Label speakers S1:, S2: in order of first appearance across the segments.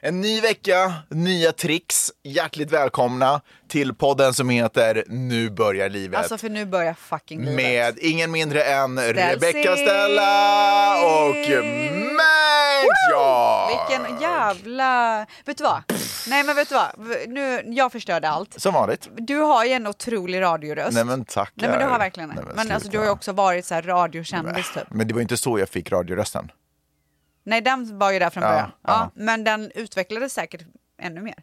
S1: En ny vecka, nya tricks. Hjärtligt välkomna till podden som heter Nu börjar livet.
S2: Alltså för nu börjar fucking livet.
S1: med ingen mindre än
S2: Stelsing!
S1: Rebecca Stella och Max! Ja!
S2: Vilken jävla... Vet du vad? Nej men vet du vad? V- Nu, jag förstörde allt.
S1: Som vanligt.
S2: Du har ju en otrolig radioröst.
S1: Nej men tack.
S2: Nej men du har verkligen det. Men, alltså, du har ju också varit så här radiokändis typ.
S1: Men det var inte så jag fick radiorösten.
S2: Nej den var ju där från
S1: Ja,
S2: början. Ja,
S1: ja.
S2: Men den utvecklades säkert ännu mer.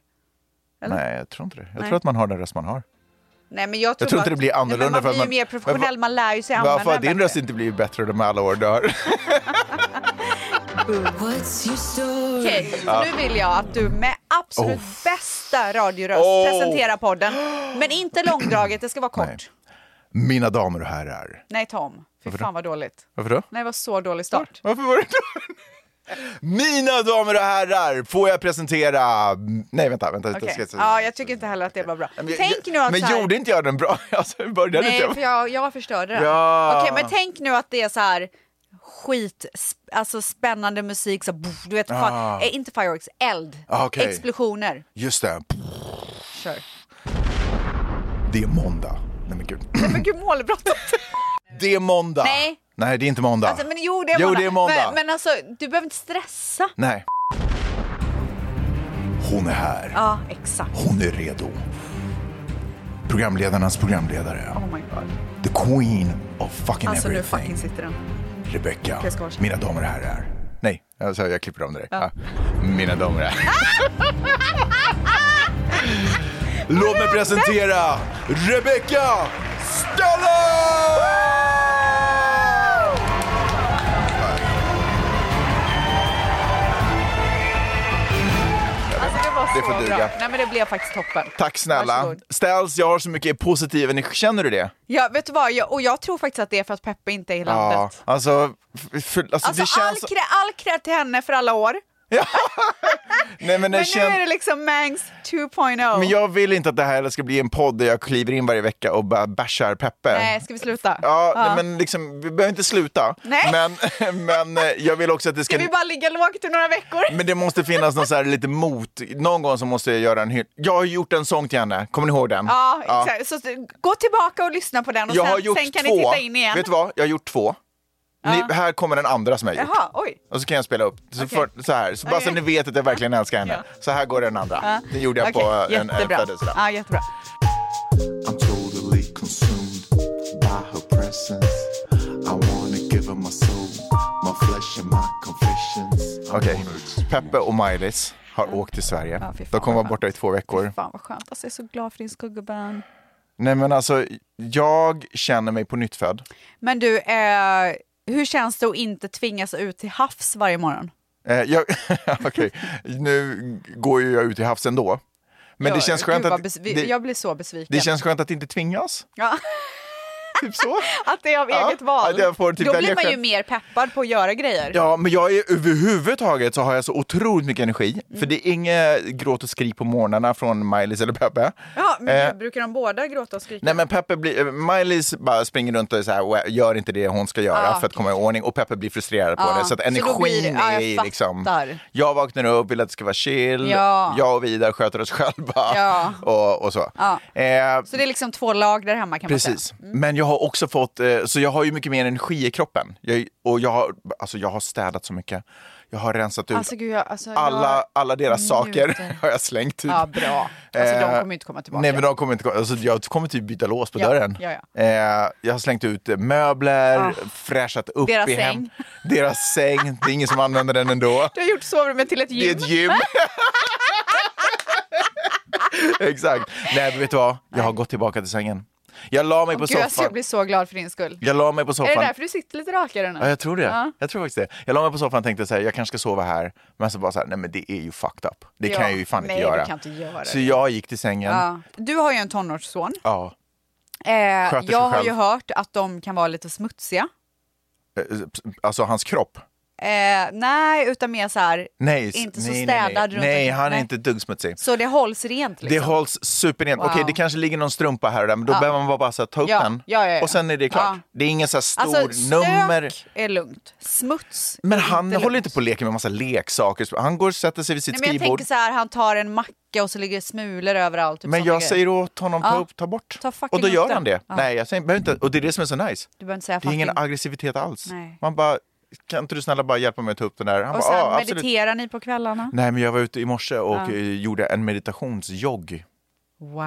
S2: Eller?
S1: Nej, jag tror inte det. Jag
S2: Nej.
S1: tror att man har den röst man har.
S2: Nej men jag tror,
S1: Jag tror
S2: bara
S1: inte det
S2: att-
S1: blir
S2: Nej, men
S1: annorlunda för
S2: Man
S1: att
S2: blir ju
S1: man-
S2: mer
S1: Men
S2: professionell,
S1: va-
S2: man lär ju sig använda
S1: Varför har
S2: den
S1: din
S2: bättre.
S1: röst inte blivit bättre med alla år du har?
S3: What's your story?
S2: Okej, så nu vill jag att du med absolut bästa radioröst
S1: Oh.
S2: presenterar podden. Men inte långdraget, det ska vara kort.
S1: Nej.
S2: Nej,
S1: Mina damer och herrar.
S2: Tom. Fy fan vad dåligt.
S1: Varför då?
S2: Nej, det var så dålig start.
S1: Varför var det Mina damer och herrar, får jag presentera... Nej, vänta. vänta
S2: Okej.
S1: jag ska-
S2: Ja, jag tycker inte heller att det var bra.
S1: Men jag-
S2: Tänk nu att
S1: Men
S2: så här...
S1: gjorde inte jag den bra? Alltså, jag började
S2: Nej,
S1: inte.
S2: för jag, jag förstörde den.
S1: Ja.
S2: Okej, men tänk nu att det är så här skit, sp- alltså spännande musik, så boff, du vet, fan,
S1: Ah.
S2: eh, inte fireworks, eld,
S1: Ah, okej.
S2: explosioner.
S1: Just det.
S2: Kör.
S1: Det är måndag. Nej, men gud.
S2: Men gud, målbrottet.
S1: Det är måndag.
S2: Nej.
S1: Nej, det är inte måndag.
S2: Alltså, men jo, det är
S1: Jo,
S2: måndag.
S1: det är måndag.
S2: Men, men alltså, du behöver inte stressa.
S1: Nej. Hon är här.
S2: Ja, exakt.
S1: Hon är redo. Programledarnas programledare.
S2: Oh my god.
S1: The queen of fucking
S2: Alltså nu
S1: everything.
S2: fucking sitter den.
S1: Rebecca,
S2: Jag ska vara så.
S1: mina damer och herrar. Nej, alltså, jag klipper om det där. Ja. Mina damer och herrar. Låt mig presentera Rebecca Stella!
S2: Alltså det var så
S1: Det får duga.
S2: bra. Nej men det blev faktiskt toppen.
S1: Tack snälla.
S2: Varsågod.
S1: Ställs, jag har så mycket positiv energi. Känner du det?
S2: Ja, vet du vad? Jag, och jag tror faktiskt att det är för att Peppe inte är i landet.
S1: Alltså, f- för, alltså,
S2: Alltså
S1: det känns...
S2: all, krä, all cred till henne för alla år.
S1: Nej, men det
S2: Men
S1: känns...
S2: nu är det liksom Mangs oh. 2.0.
S1: Men jag vill inte att det här ska bli en podd där jag kliver in varje vecka och bara bashar Peppe.
S2: Nej, ska vi sluta?
S1: Ja, Nej, men liksom, vi behöver inte sluta.
S2: Nej.
S1: Men, men eh, jag vill också att det ska...
S2: Ska vi bara ligga lågt i några veckor?
S1: Men det måste finnas någon så här lite mot. Någon gång så måste jag göra en hyll. Jag har gjort en sång till henne. Kommer ni ihåg den?
S2: Ja, exakt. Så gå tillbaka och lyssna på den och
S1: Jag
S2: sen,
S1: har gjort
S2: sen kan
S1: två.
S2: ni titta in igen.
S1: Vet du vad? Jag har gjort två. Ni, här kommer den andra som jag har gjort.
S2: Jaha, oj.
S1: Och så kan jag spela upp. Så,
S2: Okej.
S1: för, så här. Så bara så
S2: Okej.
S1: ni vet att jag verkligen älskar henne.
S2: Ja.
S1: Så här går den andra.
S2: Ja.
S1: Den gjorde jag
S2: Okej,
S1: på eh, en, en
S2: jättebra.
S1: födelsedag.
S2: Ja, jättebra.
S4: I'm totally consumed by her presence. I wanna give her my soul, my flesh, and my confessions. I
S1: Okej.
S4: wanna explore
S1: Peppe och Maj-Lis har åkt till Sverige.
S2: Ja, fy fan,
S1: De kommer
S2: vad
S1: vara borta i två veckor.
S2: Fan vad skönt. Alltså, jag är så glad för din skuggubben.
S1: Nej men alltså, jag känner mig på nytt född.
S2: Men du, eh, hur känns det att inte tvingas ut till havs varje morgon?
S1: Eh, jag, okej. Nu går ju jag ut i havs ändå. Men det
S2: Jag-
S1: känns skönt
S2: gud, vad
S1: att...
S2: besvi-
S1: det,
S2: jag blir så besviken.
S1: det känns skönt att inte tvingas.
S2: Ja.
S1: Typ så.
S2: Att det är av
S1: Ja,
S2: eget val.
S1: att jag får typ
S2: Då
S1: välja
S2: blir man ju
S1: själv.
S2: mer peppad på att göra grejer.
S1: Ja, men jag är överhuvudtaget så har jag så otroligt mycket energi.
S2: Mm.
S1: För det är inget gråt och skrik på morgnarna från Maj-Lis eller Peppe.
S2: Ja, men
S1: Eh.
S2: gud, brukar de båda gråta och skrika?
S1: Nej men Peppe blir, eh, Miley's bara springer runt och är så här, "Well, gör inte det hon ska göra
S2: Ah,
S1: för att komma i ordning och Peppe blir frustrerad på
S2: Ah,
S1: det. Så att
S2: så då
S1: energin
S2: blir det- ja,
S1: är
S2: jag
S1: i
S2: fattar.
S1: liksom, jag vaknar upp, vill att det ska vara chill,
S2: Ja.
S1: jag och Vidar sköter oss själva
S2: Ja.
S1: och, och så.
S2: Ja.
S1: Eh,
S2: Så Mm. det är liksom två lag där hemma kan man
S1: Precis,
S2: säga.
S1: men jag har också fått, eh, så jag har ju mycket mer energi i kroppen. Jag, och jag har, alltså jag har städat så mycket, jag har rensat ut
S2: Alltså, gud, jag, alltså,
S1: alla, alla deras saker
S2: njuter.
S1: har jag slängt typ.
S2: Jag... Ja, bra. Alltså, de
S1: Eh,
S2: kommer ju inte komma tillbaka.
S1: Nej men de kommer inte komma, alltså, jag kommer typ byta lås på
S2: Ja,
S1: dörren.
S2: ja,
S1: Eh, jag har slängt ut eh, möbler,
S2: Ah.
S1: fräschat upp
S2: Deras
S1: i hem. Deras säng. Det är ingen som använder den ändå.
S2: Du har gjort sovrummet till ett
S1: Det är
S2: gym.
S1: ett gym. Exakt. Nej men vet du vad, jag har gått tillbaka till sängen. Jag la mig på
S2: Gud, alltså, jag
S1: soffan.
S2: blir så glad för din skull.
S1: Jag la mig på
S2: Är det
S1: soffan.
S2: därför du sitter lite rakare nu?
S1: Ja, jag tror det.
S2: Ja.
S1: Jag tror faktiskt det. Jag la mig på soffan och tänkte så här, jag kanske ska sova här. Men så bara så här, nej men det är ju fucked up. Det kan
S2: Ja.
S1: jag ju fan
S2: Nej,
S1: inte göra.
S2: du kan inte göra
S1: Så
S2: det.
S1: jag gick till sängen. Ja.
S2: Ja. Du har ju en tonårsson. Eh, jag
S1: sig
S2: har
S1: själv.
S2: ju hört att de kan vara lite smutsiga.
S1: Eh, Alltså hans kropp.
S2: Eh, nej, utan mer så här,
S1: Nej,
S2: inte
S1: nej,
S2: så
S1: nej,
S2: städad
S1: Nej,
S2: runt
S1: nej.
S2: omkring.
S1: han är
S2: Nej.
S1: inte ett dugg smutsig.
S2: så det hålls rent liksom.
S1: Det hålls superrent.
S2: Wow.
S1: Okej, det kanske ligger någon strumpa här och där, men då
S2: Ja.
S1: behöver man bara, bara så här, ta upp
S2: Ja,
S1: den
S2: ja, ja, ja.
S1: och sen är det klart.
S2: Ja.
S1: Det är ingen så här stor
S2: alltså, stök
S1: nummer.
S2: är lugnt, smuts
S1: Men
S2: är
S1: han
S2: inte lugnt.
S1: håller inte på och leker med massa leksaker. Han går och sätter sig vid sitt
S2: Nej, men jag
S1: skrivbord.
S2: tänker så här, han tar en macka och så ligger det smulor överallt. Typ
S1: men
S2: såna
S1: jag
S2: grejer.
S1: säger åt honom, ta,
S2: Ja.
S1: upp, ta bort.
S2: Ta fucking
S1: och då
S2: upp
S1: gör
S2: den.
S1: han det.
S2: Ja.
S1: Nej, jag säger, behöver inte. Och det är det som är så nice.
S2: Du behöver inte säga
S1: Det är
S2: fucking.
S1: ingen aggressivitet alls.
S2: Nej.
S1: Man bara, kan inte du snälla bara hjälpa mig att ta upp den där? Han
S2: Och sen
S1: bara, ah, absolut.
S2: mediterar ni på kvällarna?
S1: Nej, men jag var ute i morse och
S2: Ja.
S1: eh, gjorde en meditationsjogg.
S2: Wow.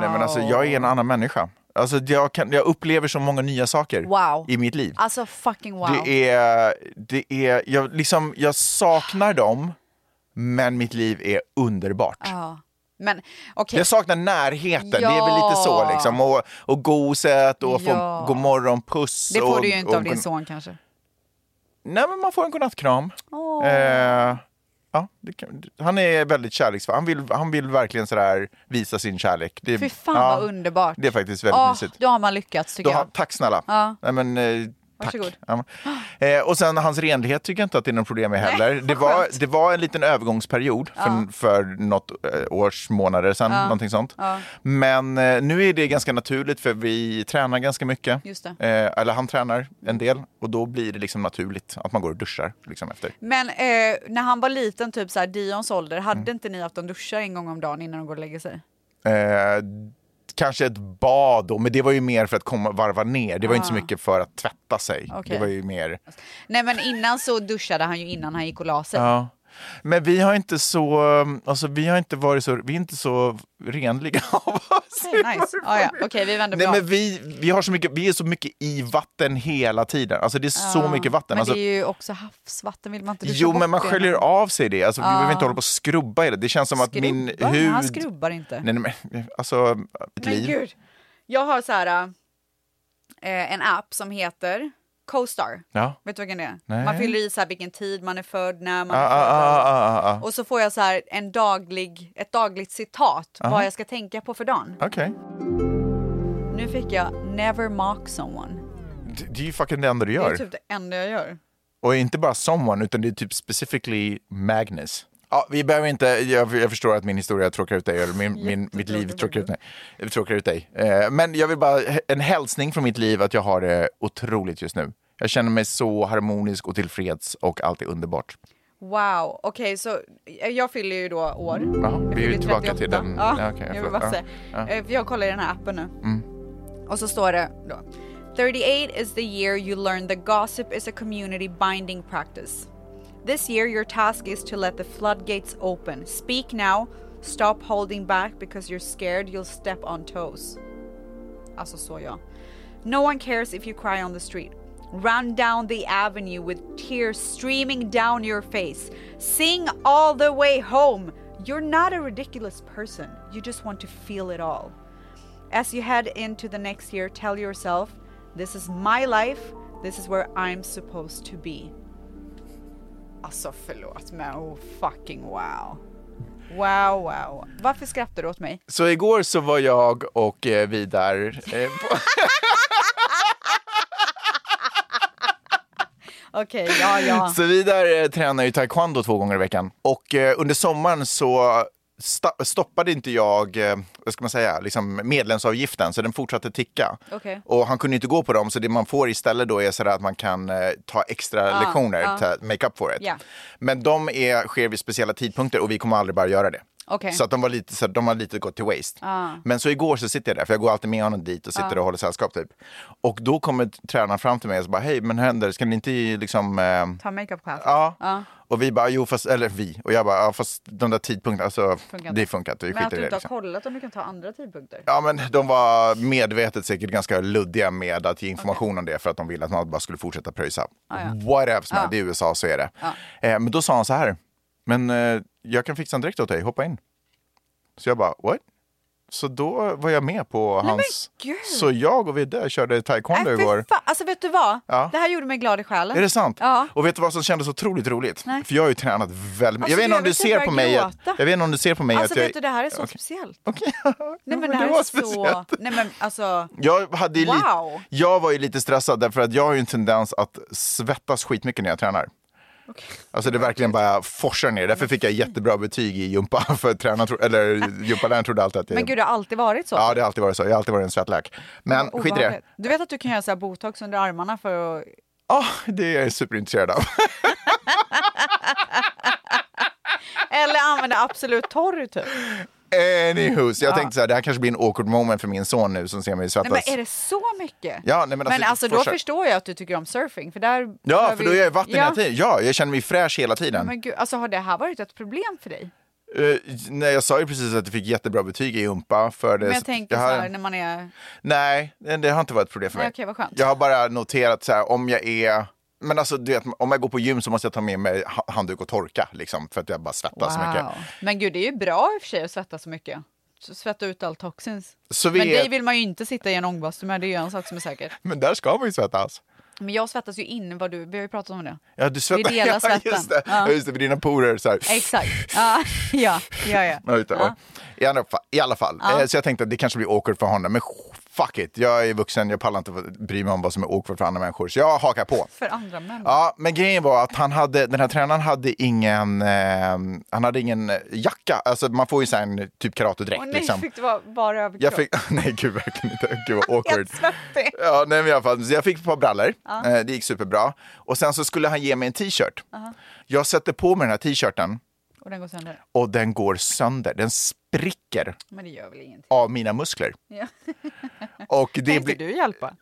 S1: Nej, men alltså, jag är en annan människa. Alltså, jag, kan, jag upplever så många nya saker
S2: Wow.
S1: i mitt liv.
S2: Alltså fucking wow.
S1: Det är, det är, jag, liksom, jag saknar dem, men mitt liv är underbart.
S2: Ja. Men okej,
S1: Jag saknar närheten, det är väl
S2: Ja.
S1: lite så liksom. Och, och goset och
S2: Ja.
S1: få god morgon puss.
S2: det får
S1: och,
S2: du ju inte
S1: och,
S2: av din
S1: god-
S2: son kanske.
S1: Nej men man får en godnattkram.
S2: Åh.
S1: Eh, ja, det kan, han är väldigt kärleksfull, han vill, han vill verkligen sådär visa sin kärlek. Det,
S2: Fy fan
S1: ja,
S2: vad underbart.
S1: Det är faktiskt väldigt
S2: Ah,
S1: mysigt.
S2: Då har man lyckats tycker
S1: Då har,
S2: jag.
S1: tack snälla.
S2: Ja.
S1: Nej, men, eh, tack.
S2: Varsågod.
S1: Ja, men. Eh, och sen hans renlighet tycker jag inte att det är något problem med heller.
S2: vad
S1: det, var,
S2: skönt.
S1: det var en liten övergångsperiod för, för något eh, års månader sedan, någonting sånt. Men eh, nu är det ganska naturligt för vi tränar ganska mycket.
S2: Just det.
S1: Eh, eller han tränar en del och då blir det liksom naturligt att man går och duschar liksom, efter.
S2: Men eh, när han var liten, typ så här, Dions ålder, hade
S1: Mm.
S2: inte ni haft en duschar en gång om dagen innan de går och lägger sig?
S1: Eh, Kanske ett bad då, men det var ju mer för att komma, varva ner. Det var inte så mycket för att tvätta sig.
S2: Ah. Okej.
S1: Det var ju mer...
S2: Nej men innan så duschade han ju innan han gick och la sig.
S1: Ja. Men vi har inte så, alltså vi har inte varit så, vi är inte så renliga av oss.
S2: Okej, nice. Ah, ja. Okej, vi vänder
S1: Nej
S2: blad.
S1: men vi, vi, har så mycket, vi är så mycket i vatten hela tiden, alltså det är så
S2: Ja.
S1: mycket vatten.
S2: Men
S1: Alltså,
S2: det är ju också havsvatten, vill man inte duscha
S1: jo
S2: bort
S1: men man
S2: det?
S1: sköljer av sig det, alltså, vi behöver inte hålla på och skrubba i det. Det känns som att min
S2: Skrubbar? Nej,
S1: hud...
S2: Han skrubbar inte.
S1: Nej, nej, men, alltså, ett
S2: Men
S1: liv.
S2: gud. Jag har så här eh, en app som heter CoStar.
S1: Ja.
S2: Vet du vilken det är?
S1: Nej.
S2: Man fyller i så här vilken tid man är född, när man
S1: Ah,
S2: är
S1: ah, ah,
S2: född.
S1: ah, ah, ah.
S2: Och så får jag så här en daglig, ett dagligt citat vad jag ska tänka på för dagen.
S1: Okej.
S2: Nu fick jag never mock someone.
S1: Det- Det är ju fucking det enda du
S2: Det är
S1: gör.
S2: typ det enda jag gör.
S1: Och inte bara someone, utan det är typ specifically Magnus. Ja, vi behöver inte, jag, jag förstår att min historia tråkar ut dig, eller min, min, mitt liv tråkar ut, nej, tråkar ut dig. Eh, men jag vill bara, en hälsning från mitt liv att jag har det otroligt just nu. Jag känner mig så harmonisk och tillfreds och allt är underbart.
S2: Wow, okej så eh, jag fyller ju då år.
S1: Jaha,
S2: Jag
S1: vi är
S2: fyller
S1: tillbaka till
S2: 38.
S1: den.
S2: Ja,
S1: Ja, okej, jag
S2: jag,
S1: får-
S2: vill bara
S1: ja,
S2: säga.
S1: ja. Mm.
S2: Eh, för Jag kollar i den här appen nu. Och så står det då. 38 is the year you learn that gossip is a community binding practice. This year your task is to let the floodgates open. Speak now, stop holding back because you're scared you'll step on toes. Alltså så ja. No one cares if you cry on the street. Run down the avenue with tears streaming down your face. Sing all the way home. You're not a ridiculous person. You just want to feel it all. As you head into the next year, tell yourself, this is my life. This is where I'm supposed to be. Alltså förlåt men oh fucking wow. Wow wow. Varför skrattar du åt mig?
S1: Så igår så var jag och eh, Vidar eh, på...
S2: Okej, ja ja.
S1: Så vi där eh, tränar ju taekwondo två gånger i veckan. Och eh, under sommaren så sta- stoppade inte jag, eh, vad ska man säga, liksom medlemsavgiften, så den fortsatte ticka.
S2: Okej.
S1: Och han kunde inte gå på dem, så det man får istället då är sådär att man kan eh, ta extra lektioner, ta make up for it.
S2: Ah, Ja.
S1: Men de är, sker vid speciella tidpunkter och vi kommer aldrig bara göra det.
S2: Okej. Ah.
S1: Så att de, var lite, så att de har lite gått till waste. Men så igår så sitter jag där, för jag går alltid med honom dit och sitter och håller sällskap typ. Och då kommer tränaren fram till mig och så bara, hej men händer, ska ni inte liksom... Eh,
S2: Ta makeup class.
S1: Ja. Och vi bara, jo fast, eller vi, och jag bara, ja, fast de där tidpunkterna, alltså,
S2: Funkar inte.
S1: det funkar inte, vi
S2: Men att
S1: skiter
S2: du
S1: i det.
S2: inte har
S1: Liksom.
S2: kollat om du kan ta andra tidpunkter.
S1: Ja men de var medvetet säkert ganska luddiga med att ge information om det för att de ville att man bara skulle fortsätta pröjsa.
S2: Ah,
S1: Whatevs man, det är USA så är det. Eh, men då sa han så här, men eh, jag kan fixa en dräkt åt dig, hoppa in. Så jag bara, what? Så då var jag med på hans...
S2: gud!
S1: Så jag och Vidde körde taekwondo
S2: Nej, fy
S1: igår.
S2: fan. Alltså vet du vad?
S1: Ja.
S2: Det här gjorde mig glad i själen.
S1: Är det sant?
S2: Ja.
S1: Och vet du vad som kändes otroligt roligt?
S2: Nej.
S1: För jag har ju tränat väldigt mycket.
S2: Alltså,
S1: jag vet inte
S2: jag
S1: om du
S2: vet
S1: ser
S2: inte,
S1: på
S2: jag
S1: mig att...
S2: gråta.
S1: Jag vet inte om du ser på mig
S2: Alltså
S1: att jag...
S2: vet du, det här är så speciellt.
S1: Okej.
S2: Nej men
S1: men
S2: det här
S1: det var
S2: är så...
S1: speciellt.
S2: Nej men alltså...
S1: Jag, hade ju lite,
S2: Wow.
S1: jag var ju lite stressad därför att jag har ju en tendens att svettas skitmycket när jag tränar. Alltså det verkligen bara forsar ner. Därför fick jag jättebra betyg i jumpa. För tränaren, tro- eller jumpaläraren trodde alltid att jag...
S2: Men gud, det har alltid varit så.
S1: Ja, det har alltid varit så. Jag har alltid varit en svettlack. Men skit i det.
S2: Obehagligt. Du vet att du kan göra så här botox under armarna för att...
S1: Ja, Ah, det är jag superintresserad av.
S2: Eller använda Absolut Torr typ.
S1: Anywhoos, jag tänkte så här, det här kanske blir en awkward moment för min son nu som ser mig
S2: Nej
S1: svettas.
S2: men är det så mycket?
S1: Ja, nej, men alltså,
S2: men alltså då
S1: forsar-
S2: förstår jag att du tycker om surfing för där...
S1: Ja,
S2: behöver
S1: för
S2: ju-
S1: då är jag i vatten
S2: ja.
S1: hela tiden. Ja, jag känner mig fräsch hela tiden.
S2: Men gud, alltså har det här varit ett problem för dig?
S1: Eh, nej, jag sa ju precis att du fick jättebra betyg i jumpa. För det,
S2: Men jag tänker
S1: har-
S2: så här när man är...
S1: Nej, det det har inte varit ett problem för
S2: Nej,
S1: mig.
S2: okej, vad skönt.
S1: Jag har bara noterat så här, om jag är... Men alltså, du vet, om jag går på gym så måste jag ta med mig ha- handduk och torka, liksom, för att jag bara svettas så mycket.
S2: Men gud, det är ju bra i och för sig att svettas så mycket. S- Svetta ut all toxins.
S1: Så vi
S2: Men
S1: är-
S2: dig vill man ju inte sitta i en ångbastu med, det är ju en sak som är säker.
S1: Men där ska man ju svettas.
S2: Men jag svettas ju in, vad du, vi har ju pratat om det.
S1: Ja, du svettas.
S2: Vi delar svetten.
S1: Ja, just det.
S2: Ja.
S1: Ja. Just det, med dina porer. Så här.
S2: Exakt. Ja, ja, ja. ja.
S1: Ja, just det. Ja. I, alla fall, I alla fall. Eh, Så jag tänkte att det kanske blir awkward för honom. Men fuck it, jag är vuxen, jag pallar inte bry mig om vad som är awkward för andra människor. Så jag hakar på.
S2: För andra män.
S1: Ja, men grejen var att han hade, den här tränaren hade ingen, eh, han hade ingen jacka. Alltså man får ju så här en typ karatedräkt.
S2: Åh nej,
S1: liksom.
S2: fick det vara bara överkropp.
S1: Jag fick, nej gud verkligen inte, gud vad awkward.
S2: Helt svettig.
S1: Ja, nej, men i alla fall, så jag fick ett par brallor, Eh, det gick superbra. Och sen så skulle han ge mig en t-shirt. Jag sätter på mig den här t-shirten
S2: Och den går sönder.
S1: och den går sönder, den spricker
S2: Men det gör väl ingenting.
S1: av mina muskler.
S2: Ja.
S1: Och det
S2: Tänkte
S1: blir
S2: du hjälpa?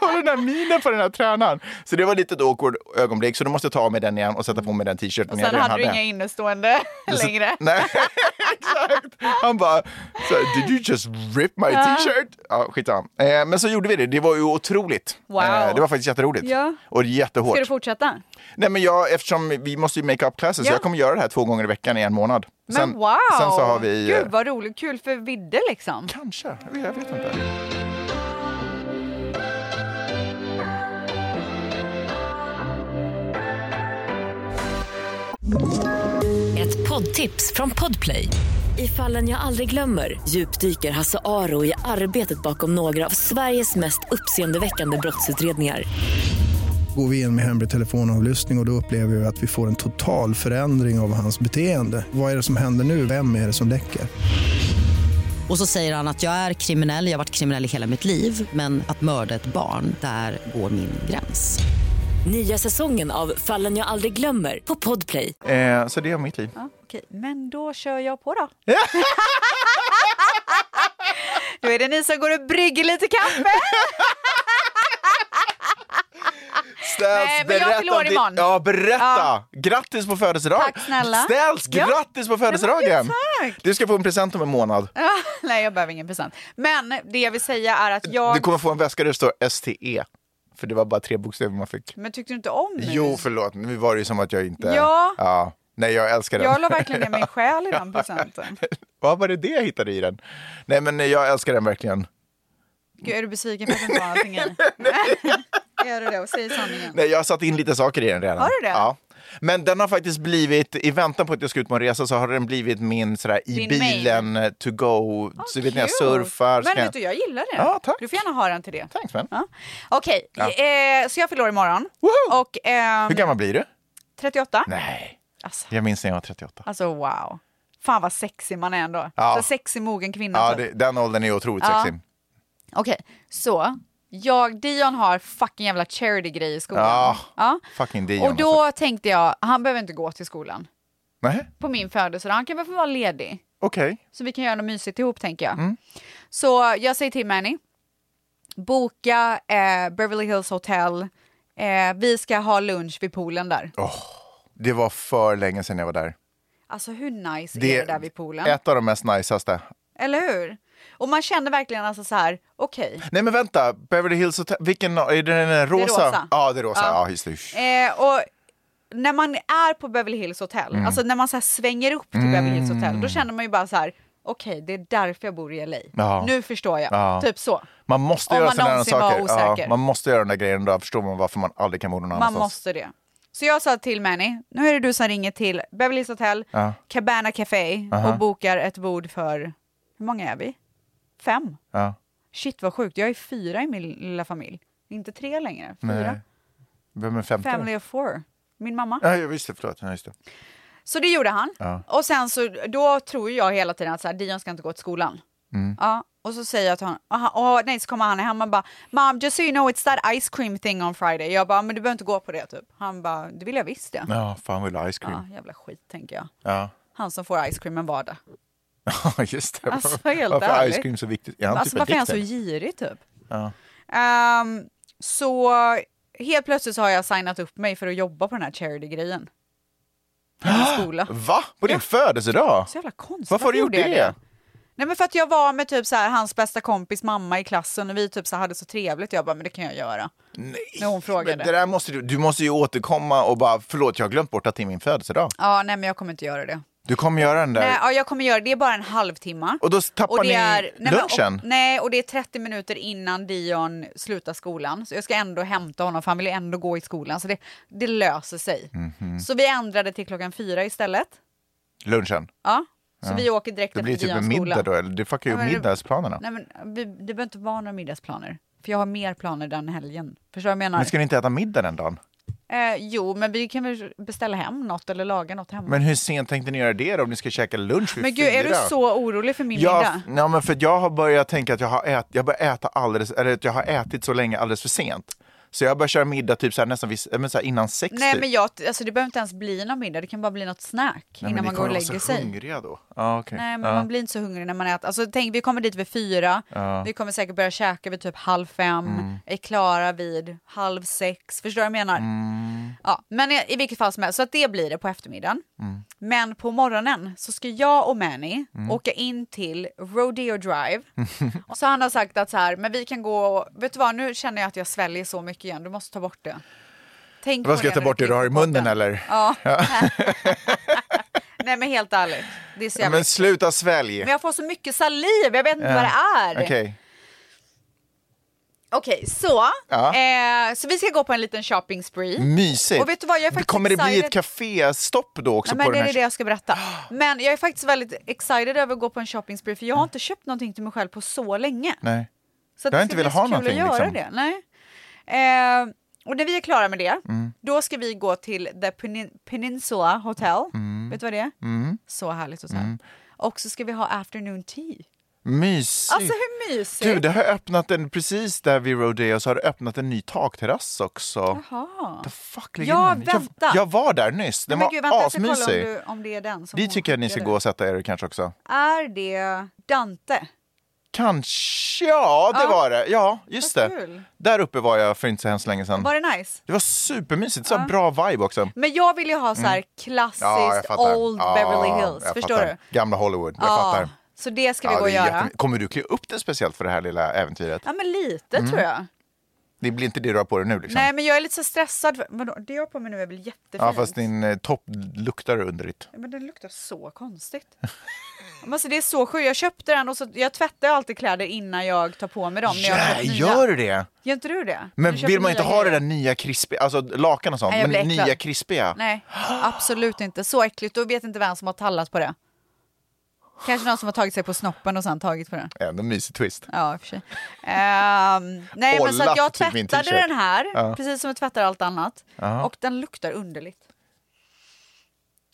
S1: och den här minen på den här tränaren. Så det var lite ett awkward ögonblick, så då måste jag ta av mig den igen och sätta på mig den t-shirten
S2: Och
S1: jag
S2: sen
S1: redan
S2: hade du inga innestående
S1: Så-
S2: längre.
S1: Nej, exakt. Han bara, så här, did you just rip my t-shirt? Ja, skitsamma. Eh, men så gjorde vi det, det var ju otroligt. Eh,
S2: Wow.
S1: det var faktiskt jätteroligt.
S2: Ja.
S1: Och
S2: Ska
S1: jättehårt.
S2: du fortsätta?
S1: Nej, men jag, eftersom vi måste ju make up classes,
S2: Ja.
S1: så jag kommer göra det här två gånger i veckan i en månad.
S2: Men
S1: sen,
S2: wow!
S1: Sen så har vi... eh,
S2: Gud vad roligt, kul för Vidde liksom.
S1: Kanske, jag vet, jag vet inte.
S5: Ett poddtips från Podplay. I fallen jag aldrig glömmer djupdyker Hasse Aro i arbetet bakom några av Sveriges mest uppseendeväckande brottsutredningar.
S6: Går vi in med hemlig telefonavlyssning och, och då upplever vi att vi får en total förändring av hans beteende. Vad är det som händer nu? Vem är det som läcker?
S7: Och så säger han att jag är kriminell, jag har varit kriminell i hela mitt liv men att mörda ett barn, där går min gräns.
S5: Nya säsongen av Fallen jag aldrig glömmer på Podplay.
S1: Eh, så det är mitt liv.
S2: Ja, okej. Men då kör jag på då. då är det ni som går och brygger lite kaffe.
S1: Ställs,
S2: Nej, men jag
S1: berätta
S2: fyller år
S1: om ditt-
S2: imorgon.
S1: Ja, berätta!
S2: Ja.
S1: Grattis på födelsedag!
S2: Tack snälla.
S1: Ställs,
S2: Ja.
S1: grattis på
S2: Nej,
S1: födelsedagen!
S2: men gud, tack.
S1: Du ska få en present om en månad.
S2: Ja, Nej, jag behöver ingen present. Men det jag vill säga är att jag...
S1: Du kommer få en väska där det står STE. För det var bara tre bokstäver man fick.
S2: Men tyckte du inte om nu?
S1: Jo, förlåt. Nu var det ju som att jag inte...
S2: Ja.
S1: Nej, jag älskar den.
S2: Jag la verkligen ner min själ i den presenten.
S1: Vad var det det jag hittade i den? Nej, men jag älskar den verkligen.
S2: Gud, är du besviken för att jag inte har någonting i? Gör du det och säg sanningen.
S1: Nej, jag har satt in lite saker i den redan.
S2: Har du det?
S1: Ja. Men den har faktiskt blivit, i väntan på att jag ska ut på en resa, så har den blivit min sådär i
S2: Din
S1: bilen eh, to go.
S2: Ah,
S1: så vet när jag
S2: Kul.
S1: surfar. så
S2: Men
S1: kan
S2: vet du, jag gillar det.
S1: Ja, tack.
S2: Du får gärna ha den till det.
S1: Thanks, man.
S2: Ja. Okej, eh, så jag förlorar imorgon.
S1: Woho!
S2: Och ehm,
S1: Hur gammal blir du?
S2: 38.
S1: Nej,
S2: Alltså,
S1: jag minns när jag var 38.
S2: alltså wow. Fan vad sexig man är ändå.
S1: Ja.
S2: Så sexig mogen kvinna.
S1: Ja,
S2: typ.
S1: det, den åldern är otroligt
S2: Ja.
S1: sexig.
S2: Okej, så. Jag, Dion har fucking jävla charity-grej i skolan.
S1: Ja,
S2: Ja.
S1: fucking Dion.
S2: Och då tänkte jag, han behöver inte gå till skolan
S1: Nej,
S2: på min födelsedag. Han kan väl få vara ledig.
S1: okej.
S2: Så vi kan göra något mysigt ihop tänker jag.
S1: Mm.
S2: Så jag säger till Manny, boka eh, Beverly Hills Hotel. Eh, vi ska ha lunch vid poolen där.
S1: Det var för länge sedan jag var där.
S2: Alltså hur nice
S1: Det-
S2: är det där vid poolen?
S1: Ett av de mest najsaste.
S2: Eller hur? Och man känner verkligen alltså så här, okej.
S1: Nej men vänta, Beverly Hills Hotel, vilken, är det den rosa?
S2: rosa.
S1: Ja, det är rosa.
S2: Ja.
S1: Ja, just det.
S2: Eh, och när man är på Beverly Hills Hotel,
S1: Mm.
S2: alltså när man så här svänger upp till Beverly Hills Hotel, då känner man ju bara så här, okej, det är därför jag bor i LA.
S1: Ja.
S2: Nu förstår jag.
S1: Ja.
S2: Typ så.
S1: Man måste
S2: Om
S1: göra
S2: man
S1: sådana
S2: någonsin var
S1: saker.
S2: osäker.
S1: man måste göra den där grejen, då förstår man varför man aldrig kan bo någon
S2: Man
S1: annanstans.
S2: måste det. Så jag sa till Manny, nu är det du som ringer till Beverly Hills Hotel,
S1: Ja.
S2: Cabana Café och bokar ett bord för, hur många är vi? Fem.
S1: Ja.
S2: Shit vad sjukt, jag är fyra i min lilla familj. Inte tre längre, fyra.
S1: Nej. Vem är femte?
S2: Family of four. Min mamma.
S1: Ja, jag visste, förlåt. Ja, just det.
S2: Så det gjorde han.
S1: Ja.
S2: Och sen så, då tror jag hela tiden att så här, Dion ska inte gå till skolan.
S1: Mm.
S2: Ja, och så säger jag till honom, aha, åh, nej så kommer han hem och bara Mom, just so you know it's that ice cream thing on Friday. Jag bara, men du behöver inte gå på det typ. Han bara, det vill jag visst det.
S1: Ja, fan vill ha ice
S2: Ja,
S1: cream.
S2: jävla skit tänker jag.
S1: Ja,
S2: Han som får ice creamen var det.
S1: ja. just det.
S2: Alltså, helt
S1: Varför är ice
S2: ärligt.
S1: cream så viktigt? Är han
S2: Alltså
S1: typ
S2: varför är han så
S1: addicted?
S2: girig typ?
S1: Ja.
S2: Ehm, så helt plötsligt så har jag signat upp mig för att jobba på den här charity-grejen. I skola.
S1: Va? På din födelsedag?
S2: Så jävla konstigt.
S1: Varför har du gjort
S2: gjorde jag
S1: det?
S2: Nej men för att jag var med typ så här, hans bästa kompis mamma i klassen och vi typ så här, hade så trevligt jag bara men det kan jag göra.
S1: Nej.
S2: När hon frågade.
S1: Men Det där måste du, du måste ju återkomma och bara, förlåt jag har glömt bort att det är min födelsedag.
S2: Ja nej men jag kommer inte göra det.
S1: Du kommer göra den där.
S2: Nej, ja, jag kommer göra det, det är bara en halvtimme.
S1: Och då tappar ni
S2: nej,
S1: lunchen?
S2: Men, och, nej och det är 30 minuter innan Dion slutar skolan. Så jag ska ändå hämta honom för han vill ju ändå gå i skolan så det, det löser sig.
S1: Mhm.
S2: Så vi ändrade till klockan fyra istället.
S1: Lunchen?
S2: Ja. Så vi åker direkt
S1: Det
S2: efter
S1: blir typ
S2: Dions
S1: en
S2: skola.
S1: middag då, eller? Det fuckar ju
S2: Ja, men-
S1: middagsplanerna.
S2: Nej men vi, det behöver inte vara några middagsplaner. För jag har mer planer den helgen. Förstår du vad jag menar?
S1: Men ska ni inte äta middag den dagen?
S2: Eh, jo, men vi kan väl beställa hem något eller laga något hemma. Men,
S1: Men hur sent tänkte ni göra det då, om ni ska käka lunch vid
S2: gud, är du
S1: fyra?
S2: så orolig för min
S1: Jag,
S2: middag?
S1: ja, men för att jag har börjat tänka att jag har, ät, jag börjar äta alldeles, eller att jag har ätit så länge alldeles för sent. Så jag börjar köra middag typ så här, nästan vid, äh, men så här innan sex.
S2: Nej,
S1: typ.
S2: men jag, alltså, det behöver inte ens bli någon middag. Det kan bara bli något snack
S1: Nej, men
S2: innan
S1: ni
S2: man går
S1: kommer
S2: och
S1: vara
S2: lägger
S1: så
S2: sig.
S1: hungriga då. Ah, okay.
S2: Nej, men
S1: ja.
S2: man blir inte så hungrig när man äter. Alltså, tänk, vi kommer dit vid fyra. Vi kommer säkert börja käka vid typ halv fem.
S1: Mm.
S2: Är klara vid halv sex. Förstår du vad jag menar?
S1: Mm.
S2: Ja, men i, i vilket fall som helst, så att det blir det på eftermiddagen.
S1: Mm.
S2: Men på morgonen så ska jag och Manny åka in till Rodeo Drive. och så han har sagt att så här, men vi kan gå, vet du vad, nu känner jag att jag sväljer så mycket igen, du måste ta bort det. Tänk
S1: Vad
S2: på
S1: ska jag ta
S2: när
S1: bort det du har i
S2: klipper
S1: munnen
S2: podden.
S1: eller?
S2: Ja. Nej men helt ärligt, det är så jävla
S1: men sluta svälj! Eh,
S2: men jag får så mycket saliv, jag vet inte vad det är.
S1: Okej.
S2: Okej, så,
S1: Ja.
S2: eh, så vi ska gå på en liten shopping spree.
S1: Mysigt.
S2: Och vet du vad, jag är faktiskt
S1: Kommer det bli
S2: excited.
S1: ett kaféstopp då också
S2: Nej, men
S1: på
S2: det
S1: den
S2: är
S1: här?
S2: det jag ska berätta. Men jag är faktiskt väldigt excited över att gå på en shopping spree för jag har inte köpt någonting till mig själv på så länge.
S1: Nej.
S2: Så att
S1: Jag har
S2: det
S1: inte
S2: ska
S1: velat
S2: bli
S1: ha
S2: så kul
S1: någonting,
S2: att göra
S1: liksom.
S2: det. Nej. Eh, och när vi är klara med det,
S1: Mm.
S2: då ska vi gå till The Penin- Peninsula Hotel.
S1: Mm.
S2: Vet du vad det är? Så härligt hotell. Och så ska vi ha afternoon tea.
S1: Mysigt.
S2: Alltså hur mysigt?
S1: du, det har öppnat en, precis där vid Rodeo så har det öppnat en ny takterrass också.
S2: Jaha.
S1: The fuck ligger
S2: Ja,
S1: den? jag,
S2: vänta.
S1: jag var där nyss, den
S2: Men
S1: var
S2: gud, vänta, jag ska kolla
S1: asmysig.
S2: Om, du, om det är den som
S1: Dit
S2: hon
S1: tycker jag ni ska
S2: skickade.
S1: gå och sätta er kanske också.
S2: Är det Dante?
S1: Kanske, ja det
S2: Ja.
S1: var det. Ja, just
S2: Vad
S1: det.
S2: kul.
S1: Där uppe var jag för inte så hemskt länge sedan.
S2: Var det nice?
S1: Det var supermysigt, så bra vibe också.
S2: Men jag vill ju ha så här klassiskt old
S1: Mm. Ja,
S2: Beverly Hills.
S1: jag
S2: Förstår
S1: fattar.
S2: du?
S1: Gamla Hollywood, jag
S2: Ja,
S1: fattar.
S2: Så det ska vi
S1: Ja,
S2: gå och
S1: det är
S2: göra.
S1: jättemy- Kommer du klä upp dig speciellt för det här lilla äventyret?
S2: Ja men lite
S1: Mm,
S2: tror jag.
S1: Det blir inte det du har på dig nu liksom?
S2: Nej men jag är lite så stressad. för- Vadå? Det jag har på mig nu är väl jättefint?
S1: ja, fast din eh, topp luktar underligt.
S2: Men den luktar så konstigt. Men alltså, det är så sjukt. Jag köpte den och så, jag tvättar ju alltid kläder innan jag tar på mig dem. när jag har
S1: Ja,
S2: köpt nya.
S1: gör du det?
S2: Gör inte du det?
S1: Men
S2: Du köper
S1: vill man inte
S2: nya
S1: ha det
S2: grejer.
S1: där nya krispiga, alltså lakan och sånt,
S2: Nej, jag
S1: men
S2: blir äcklad.
S1: nya krispiga?
S2: Nej, absolut inte. Så äckligt. Då vet inte vem som har tallat på det. Kanske någon som har tagit sig på snoppen och sen tagit på den.
S1: Ändå en mysig twist.
S2: Ja, i och för sig. Ehm, nej, men så att
S1: Ollat
S2: jag
S1: typ min
S2: tvättade
S1: t-shirt.
S2: den här, precis som jag tvättar allt annat. Och den luktar underligt.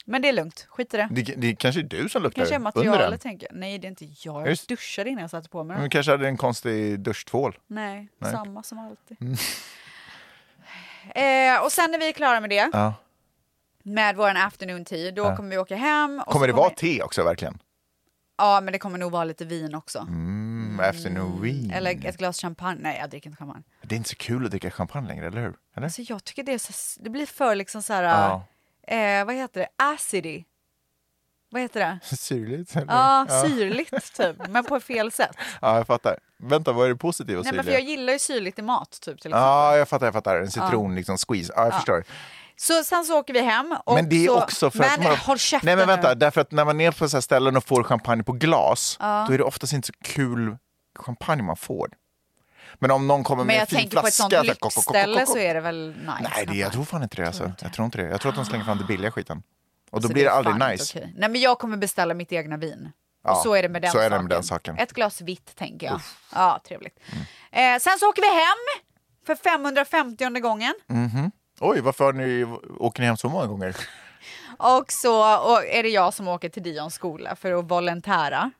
S2: Men det är lugnt, skit i det.
S1: Det, det kanske är du som luktar
S2: Kanske är
S1: under den.
S2: materialet tänker jag. Nej, det är inte jag. Jag
S1: Just. Mm.
S2: duschade innan jag satte på mig den.
S1: Men kanske hade en konstig duschtvål.
S2: Nej, samma som alltid.
S1: Mm.
S2: Eh, och sen när vi är klara med det,
S1: Ja.
S2: med vår afternoon tea, då kommer vi åka hem. Och så
S1: Kommer det vara te också verkligen?
S2: Ja, men det kommer nog vara lite vin också.
S1: Mm, Efter Noreen.
S2: Eller ett glas champagne. Nej, jag dricker inte champagne.
S1: Det är inte så kul att dricka champagne längre, eller hur? Eller?
S2: Alltså, jag tycker det, är så, det blir för liksom så här...
S1: Ja.
S2: Eh, vad heter det? Acidy. Vad heter det?
S1: Syrligt? Eller?
S2: Ja, syrligt typ, men på fel sätt.
S1: ja, jag fattar. Vänta, vad är det positiva
S2: Nej, men för
S1: syrliga?
S2: jag gillar ju syrligt i mat typ. Till exempel.
S1: Ja, jag fattar, jag fattar. En citron liksom squeeze. Ja, jag förstår.
S2: Så sen så åker vi hem. Och
S1: Men det är
S2: så,
S1: också för
S2: men,
S1: att man...
S2: håll käften
S1: Nej men vänta,
S2: nu.
S1: därför att när man är på så här ställen och får champagne på glas, då är det oftast inte så kul champagne man får. Men om någon kommer
S2: Men
S1: med en
S2: jag
S1: fin
S2: tänker på
S1: flaska...
S2: ett sånt
S1: här, kok, kok, kok,
S2: lyxställe
S1: kok, kok.
S2: så är det väl nice.
S1: Nej, det,
S2: kanske.
S1: jag tror fan inte det alltså. Jag tror inte det. Jag tror att de slänger fram det billiga skiten. Och då
S2: Så
S1: blir det
S2: Alltså, är
S1: aldrig
S2: fan
S1: nice.
S2: inte okej. Nej, men jag kommer beställa mitt egna vin.
S1: Ja,
S2: och så är det med den,
S1: så är det
S2: saken.
S1: med den saken.
S2: Ett glas vitt tänker jag. Ja, trevligt. Eh, sen så åker vi hem för 550 gången.
S1: Oj, varför har ni, åker ni hem så många gånger?
S2: Och så och är det jag som åker till Dions skola för att volontära.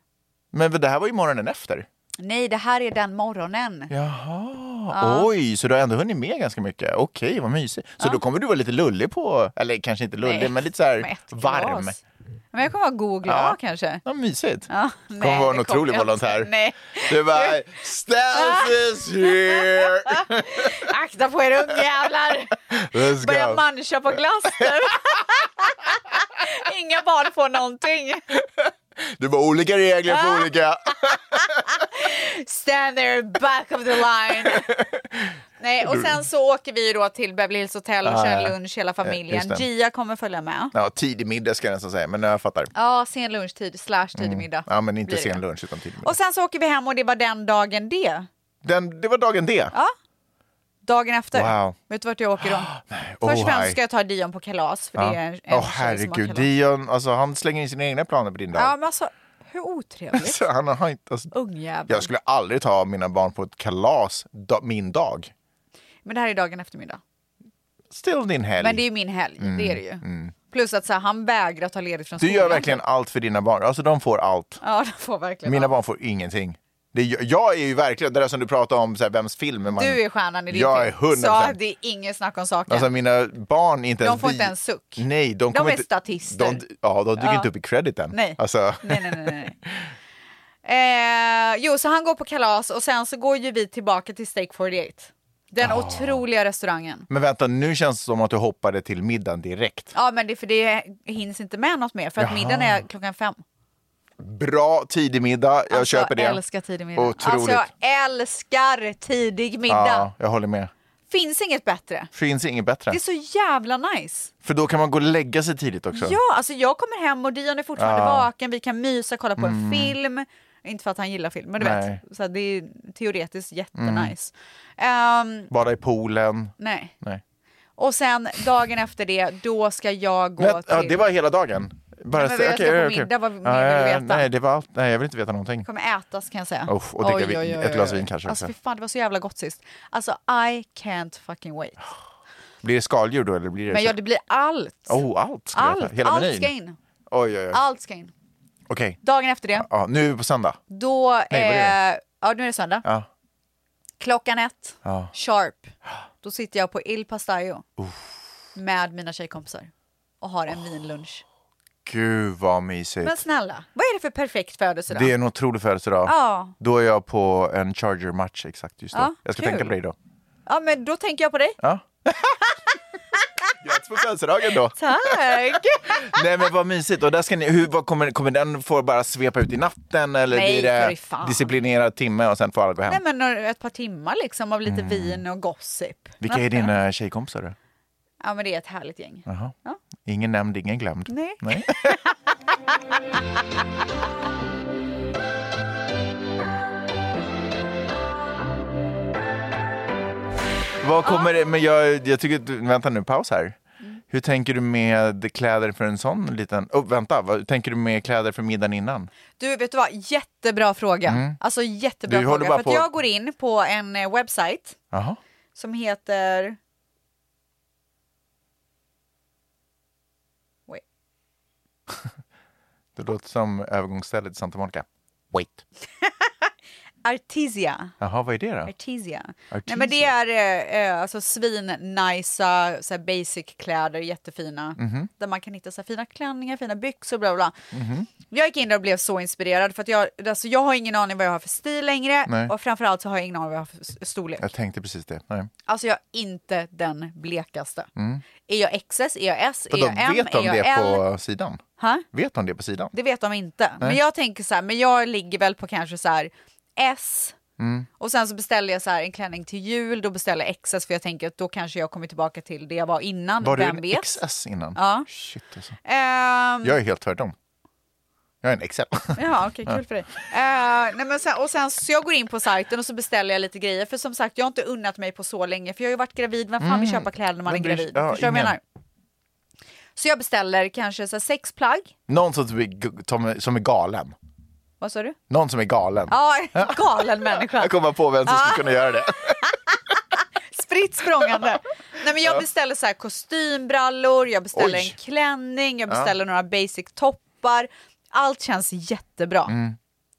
S1: Men det här var ju morgonen efter.
S2: Nej, det här är den morgonen.
S1: Jaha, Ah, oj, så du har ändå hunnit med ganska mycket. Okej, vad mysigt. Så då kommer du vara lite lullig på, eller kanske inte lullig,
S2: Nej,
S1: men lite så här
S2: Med ett
S1: varm.
S2: glas. Men jag kommer vara god och glad
S1: Ja.
S2: kanske.
S1: Vad mysigt.
S2: Ja,
S1: kommer vara en
S2: det
S1: otrolig
S2: jag inte.
S1: volontär.
S2: Nej,
S1: Du bara, Stas is here!
S2: akta på er ungjävlar!
S1: Let's
S2: Börja
S1: go!
S2: mancha på glass nu. Inga barn får någonting.
S1: Du bara, olika regler för
S2: Ah.
S1: olika.
S2: Stand there back of the line. Nej, och sen så åker vi ju då till Beverly Hills Hotel och
S1: Ah,
S2: kör
S1: ja.
S2: lunch hela
S1: Just
S2: familjen.
S1: det.
S2: Gia kommer följa med.
S1: Ja, tidig middag ska jag nästan säga, men jag fattar.
S2: Ja, sen lunchtid slash tidig middag.
S1: Mm. Ja, men inte
S2: blir det.
S1: sen lunch utan tidig middag.
S2: Och sen så åker vi hem och det var den dagen det.
S1: Den, det var dagen D.
S2: Dagen efter.
S1: Wow.
S2: Vet du vart jag åker då?
S1: Oh,
S2: Först och främst
S1: hi.
S2: ska jag ta Dion på kalas. För det är en,
S1: Åh
S2: en tjej som har
S1: herregud,
S2: kalas.
S1: Dion, alltså, han slänger in sina egna planer på din dag.
S2: Ja, men alltså hur otrevligt.
S1: Så han har inte, alltså,
S2: Ungjävel.
S1: jag skulle aldrig ta mina barn på ett kalas da, min dag.
S2: Men det här är dagen eftermiddag.
S1: Still din helg.
S2: Men det är ju min helg, det är det ju. Plus att så här, han vägrar ta ledigt från
S1: Mm, Du
S2: skolan.
S1: gör verkligen allt för dina barn. Alltså de får allt.
S2: Ja, de får verkligen
S1: Mina
S2: allt.
S1: barn får ingenting. Det, är- jag är ju verkligen, det där som du pratar om, så här, vems film är man...
S2: Du är stjärnan i din
S1: Jag är
S2: film.
S1: 100%.
S2: Så det är inget snack om saken.
S1: Alltså mina barn är inte
S2: De
S1: ens
S2: får
S1: vi-
S2: inte en suck.
S1: Nej, de,
S2: De
S1: kommer
S2: är
S1: inte-
S2: statister.
S1: De, ja, de dyker
S2: Ja.
S1: inte upp i crediten.
S2: Nej.
S1: Alltså,
S2: nej, nej, nej. nej. Eh, jo, så han går på kalas och sen så går ju vi tillbaka till Steak 48. Den otroliga restaurangen.
S1: men vänta, nu känns det som att du hoppade till middagen direkt.
S2: Ja, men det, för det hinns inte med något mer för att middagen är klockan fem.
S1: Bra tidig middag, jag
S2: Alltså,
S1: köper det.
S2: Jag älskar tidig middag.
S1: Otroligt.
S2: Alltså, jag älskar tidig middag.
S1: Ja, jag håller med.
S2: Finns inget bättre.
S1: Finns inget bättre.
S2: Det är så jävla nice.
S1: För då kan man gå och lägga sig tidigt också.
S2: Ja, alltså jag kommer hem och Dion är fortfarande vaken. Vi kan mysa, kolla på en film. Inte för att han gillar film, men du
S1: Mm. Nej. Mm.
S2: vet. Så att det är teoretiskt jättenice. Ehm,
S1: Bada i poolen.
S2: nej.
S1: Nej.
S2: Och sen dagen efter det, då ska jag gå
S1: Men,
S2: till...
S1: ja, det var hela dagen? Bara,
S2: Nej, men jag ska
S1: okej,
S2: på
S1: okej.
S2: middag, vad
S1: Ja,
S2: mer vill
S1: ja,
S2: du
S1: ja,
S2: veta?
S1: Nej, det var allt. Nej, jag vill inte veta någonting.
S2: kommer ätas kan jag säga.
S1: Uff, och dricka vin. Ett glas vin kanske
S2: Alltså fy
S1: också.
S2: fan, det var så jävla gott sist. Alltså I can't fucking wait.
S1: Blir det skaldjur då eller blir det...
S2: Men ja, det blir allt.
S1: Oh, allt ska jag
S2: allt,
S1: äta. Hela
S2: allt
S1: menyn.
S2: ska in.
S1: Oj, oj, oj.
S2: Allt ska in.
S1: Okej.
S2: Dagen efter det,
S1: Ja, nu är vi på söndag.
S2: då...
S1: vad är
S2: eh, ja, nu är det söndag.
S1: Ja.
S2: Klockan ett,
S1: Ja.
S2: sharp, då sitter jag på Il Pastaio med mina tjejkompisar och har en vinlunch.
S1: Gud vad mysigt.
S2: Men snälla, vad är det för perfekt födelsedag?
S1: Det är en otrolig födelsedag.
S2: Ja.
S1: Då är jag på en Charger-match exakt just då.
S2: Ja,
S1: jag ska
S2: kul.
S1: tänka på dig då.
S2: Ja, men då tänker jag på dig.
S1: Ja. Grattis på födelsedagen då!
S2: Tack!
S1: Nej men vad mysigt. Och där ska ni, hur, vad kommer, kommer den få bara svepa ut i natten eller
S2: Nej,
S1: blir
S2: för i
S1: det
S2: fan.
S1: disciplinerad timme och sen får alla gå hem?
S2: Nej, men några- ett par timmar liksom av lite
S1: Mm.
S2: vin och gossip.
S1: Vilka är dina tjejkompisar då?
S2: Ja, men det är ett härligt gäng.
S1: Jaha.
S2: Ja.
S1: Ingen nämnd, ingen glömd.
S2: Nej.
S1: Nej. Vad kommer det, men jag, jag tycker, att du- vänta nu, paus här. Hur tänker du med kläder för en sån liten, oh, vänta, vad hur tänker du med kläder för middagen innan?
S2: Du, vet du vad? Jättebra fråga. Alltså
S1: Du
S2: jättebra
S1: Mm. håller
S2: fråga.
S1: bara
S2: För att
S1: på-
S2: jag går in på en eh, website
S1: Jaha.
S2: som heter... Wait.
S1: Det låter som övergångsstället i Santa Monica. Wait.
S2: Artisia.
S1: Jaha, vad är det då?
S2: Artisia. Nej,
S1: Artesia.
S2: men det är eh, eh, alltså svin-najsa så här basic kläder, jättefina.
S1: Mhm.
S2: Där man kan hitta så här fina klänningar, fina byxor, bla bla. bla. Jag gick in där och blev så inspirerad för att jag, alltså, jag har ingen aning vad jag har för stil längre
S1: Nej.
S2: och framförallt så har jag ingen aning vad jag har för s- storlek.
S1: Jag tänkte precis det. Nej.
S2: Alltså jag är inte den blekaste. Är jag XS, är jag S, är
S1: Mm. Vadå,
S2: jag M,
S1: vet de
S2: är jag
S1: det
S2: L?
S1: på sidan?
S2: Ha?
S1: Vet de det på sidan?
S2: Det vet de inte. Men jag tänker så här, men jag ligger väl på kanske så här S.
S1: Mm.
S2: Och sen så beställer jag så här en klänning till jul, då beställer jag XS för jag tänker att då kanske jag kommer tillbaka till det jag var innan.
S1: Var du
S2: Vem
S1: en
S2: vet?
S1: XS innan?
S2: Ja.
S1: Shit alltså.
S2: Ehm,
S1: Jag är helt tvärtom. Jag är en XL.
S2: Jaha, okej, kul för dig. Eh, nej, men sen, och sen, så jag går in på sajten och så beställer jag lite grejer. För som sagt, jag har inte unnat mig på så länge. För jag har ju varit gravid. Vem fan vill köpa kläder när man är
S1: Vem bryr sig?
S2: gravid?
S1: Mm. Ja,
S2: Förstår du vad jag
S1: ingen.
S2: menar? Så jag beställer kanske så här, sex plagg.
S1: Någon som, är g- som- som är galen.
S2: Vad sa du?
S1: Någon som är galen.
S2: Ja, galen människa.
S1: Jag kommer på vem som skulle kunna göra det.
S2: Fritt språngande. Nej, men jag beställer så här kostymbrallor, jag beställer
S1: Oj.
S2: en klänning, jag beställer några basic toppar. Allt känns jättebra.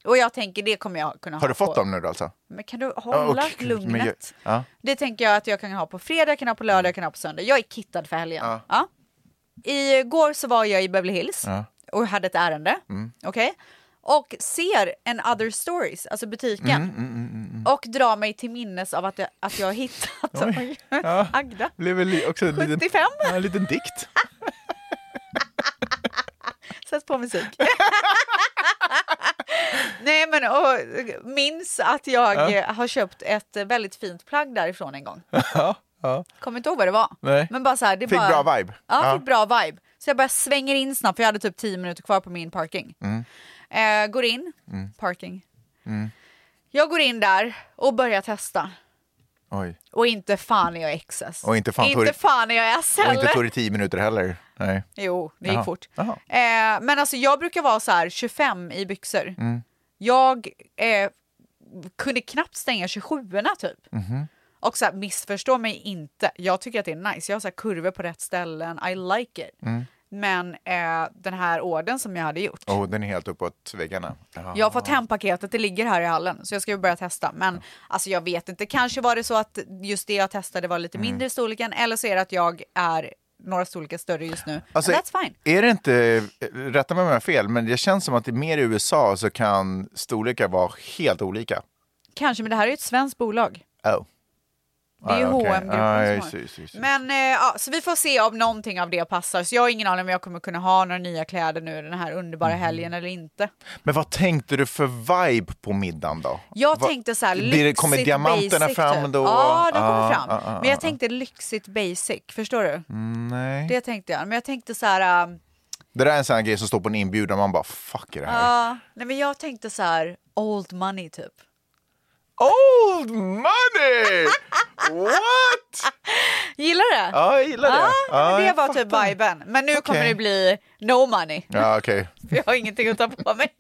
S2: Och jag tänker det kommer jag kunna
S1: Mm. Har du
S2: ha på.
S1: fått dem nu då alltså?
S2: Men kan du hålla
S1: Ja, okej,
S2: lugnet?
S1: men jag- ja.
S2: Det tänker jag att jag kan ha på fredag, jag kan ha på lördag, jag kan ha på söndag. Jag är kittad för helgen.
S1: Ja.
S2: Ja. Igår så var jag i Beverly Hills
S1: Ja. Mm.
S2: och hade ett ärende. Okej? Och ser en other stories, alltså butiken.
S1: Mm,
S2: Och drar mig till minnes av att jag, att jag har hittat
S1: Oj.
S2: Agda.
S1: Blev väl också en
S2: 75.
S1: ja, en liten dikt.
S2: Sätt på musik. Nej men och minns att jag eh, har köpt ett eh, väldigt fint plagg därifrån en gång. Kommer inte ihåg vad det var.
S1: Nej.
S2: Men bara så här, det
S1: Fick
S2: bara...
S1: bra vibe.
S2: Ja,
S1: Ja.
S2: fick bra vibe. Så jag bara svänger in snabbt, för jag hade typ 10 minuter kvar på min parking.
S1: Mm.
S2: Eh, går in, parking. Jag går in där och börjar testa.
S1: Oj.
S2: Och inte fan är jag XS.
S1: Och inte fan
S2: inte
S1: Turk-
S2: fan är jag S
S1: Och inte
S2: heller.
S1: tog det tio minuter heller. Nej.
S2: Jo, det gick
S1: Jaha.
S2: fort.
S1: Jaha.
S2: Eh, men alltså jag brukar vara så här 25 i byxor.
S1: Mm.
S2: Jag eh, kunde knappt stänga 27 typ.
S1: Mhm.
S2: Och så här, missförstå mig inte. Jag tycker att det är nice. Jag har så här kurvor på rätt ställen. I like it. Men eh, den här orden som jag hade gjort.
S1: Mm. Oh, den är helt uppåt väggarna. Ja.
S2: Jag har fått hem paketet, det ligger här i hallen. Så jag ska ju börja testa. Men alltså jag vet inte, kanske var det så att just det jag testade var
S1: Mm.
S2: lite mindre i storleken. Eller så är det att jag är några storlekar större just nu.
S1: Alltså,
S2: And that's fine.
S1: Är det inte, rätta mig om jag har fel, men det känns som att det är mer i USA så kan storlekar vara helt olika.
S2: Kanske, men det här är ju ett svenskt bolag.
S1: Oh.
S2: Det är ju
S1: Ah, okej.
S2: H&M gruppen
S1: Ah,
S2: som
S1: just,
S2: har.
S1: just, just, just.
S2: Men eh, ja, så vi får se om någonting av det passar. Så jag har ingen aning om jag kommer kunna ha några nya kläder nu den här
S1: Mhm.
S2: underbara helgen eller inte.
S1: Men vad tänkte du för vibe på middagen då?
S2: Jag
S1: Vad-
S2: tänkte så här
S1: Blir det-
S2: lyxigt
S1: Kommer diamanterna
S2: basic,
S1: fram
S2: typ.
S1: då?
S2: Ja, de kommer
S1: Ah,
S2: fram.
S1: ah, ah,
S2: men jag
S1: ah. Mm.
S2: tänkte lyxigt basic, förstår du?
S1: Nej. Det...
S2: Det tänkte jag. Men jag tänkte så här... äh,
S1: där är en sån här grej som står på en inbjudan, man bara fuck är det här?
S2: ja, ah, nej, men jag tänkte så här old money typ.
S1: Old money! What?
S2: Gillar det?
S1: Ja, jag gillar det.
S2: Ja, men det
S1: jag
S2: var
S1: fattar.
S2: typ viben. Men nu kommer
S1: Okej.
S2: det bli no money.
S1: Ja, okej.
S2: För jag har ingenting att ta på mig.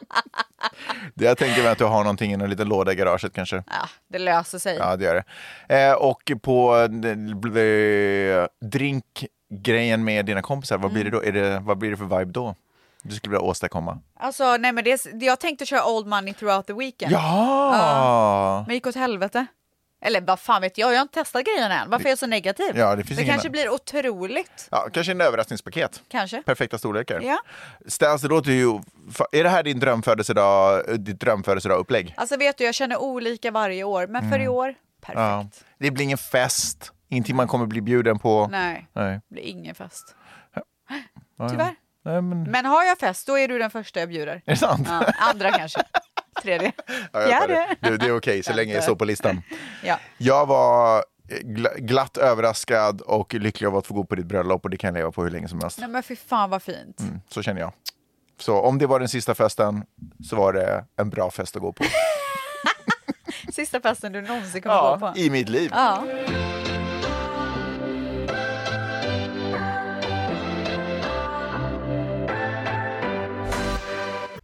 S1: Det Jag tänker mig att du har någonting i en liten låda i garaget kanske.
S2: Ja, det löser sig.
S1: Ja, det gör det. Eh, och på eh, drinkgrejen med dina kompisar, vad blir det då? Är det, vad blir det för vibe då? Du skulle vilja åstadkomma?
S2: Alltså, nej men det, är- jag tänkte köra old money throughout the weekend.
S1: Ja!
S2: Men gick åt helvete. Eller vad fan vet jag, jag har inte testat grejen än. Varför är jag så negativ?
S1: Ja, det finns ingen-
S2: kanske blir otroligt.
S1: ja! Kanske en överraskningspaket.
S2: Kanske.
S1: Perfekta storlekar.
S2: Ja.
S1: Stans, det låter ju... fa- Är det här din drömfödelsedag, eh, ditt drömfödelsedag-upplägg?
S2: Alltså vet du, jag känner olika varje år. Men för i år,
S1: Mm. Ja.
S2: perfekt.
S1: Det blir ingen fest, ingenting man kommer bli bjuden på.
S2: Nej,
S1: Nej.
S2: det blir ingen fest.
S1: Ja,
S2: Tyvärr.
S1: Ja. Nej, men...
S2: Men har jag fest, då är du den första jag bjuder.
S1: Är det sant?
S2: Ja, andra kanske. Tredje.
S1: Ja, jag tar
S2: Fjärde.
S1: det. Du, det är okej, så länge jag står på listan.
S2: Ja.
S1: Jag var eh, gla- glatt överraskad och lycklig av att få gå på ditt bröllop och det kan jag leva på hur länge som helst.
S2: Nej men fy fan vad fint.
S1: Mm, Så känner jag. Så om det var den sista festen så var det en bra fest att gå på.
S2: Sista festen du någonsin kommer gå
S1: Ja,
S2: på.
S1: i mitt liv.
S2: Ja.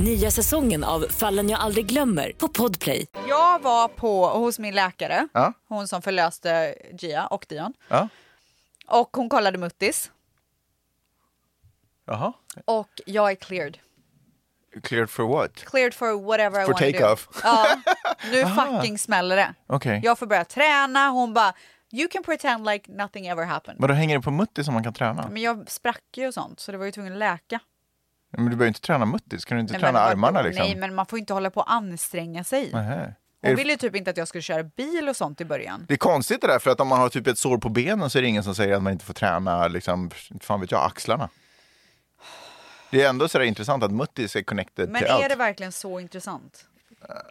S5: Nya säsongen av Fallen jag aldrig glömmer på Podplay.
S2: Jag var på, hos min läkare,
S1: Ja.
S2: hon som förlöste Gia och Dion.
S1: Ja.
S2: Och hon kollade muttis
S1: Jaha.
S2: och jag är cleared.
S1: Cleared for what?
S2: Cleared for whatever I
S1: For
S2: wanna do.
S1: take-off. Ah.
S2: Ja, nu fucking smäller det.
S1: Okej.
S2: Jag får börja träna, hon bara you can pretend like nothing ever happened.
S1: Men då hänger det på mutti som man kan träna?
S2: Men jag sprack ju och sånt så det var ju tvungen att läka.
S1: Men du behöver inte träna muttis, kan du inte
S2: Nej,
S1: träna
S2: men
S1: armarna
S2: vadå?
S1: liksom?
S2: Nej men man får inte hålla på och anstränga sig.
S1: Nähä. Är
S2: Hon
S1: det,
S2: ville ju typ inte att jag skulle köra bil och sånt i början.
S1: det är konstigt det där, för att om man har typ ett sår på benen så är det ingen som säger att man inte får träna, liksom, inte fan vet jag, axlarna. Det är ändå sådär intressant att muttis är connected
S2: Men
S1: till
S2: är
S1: allt.
S2: det verkligen så intressant?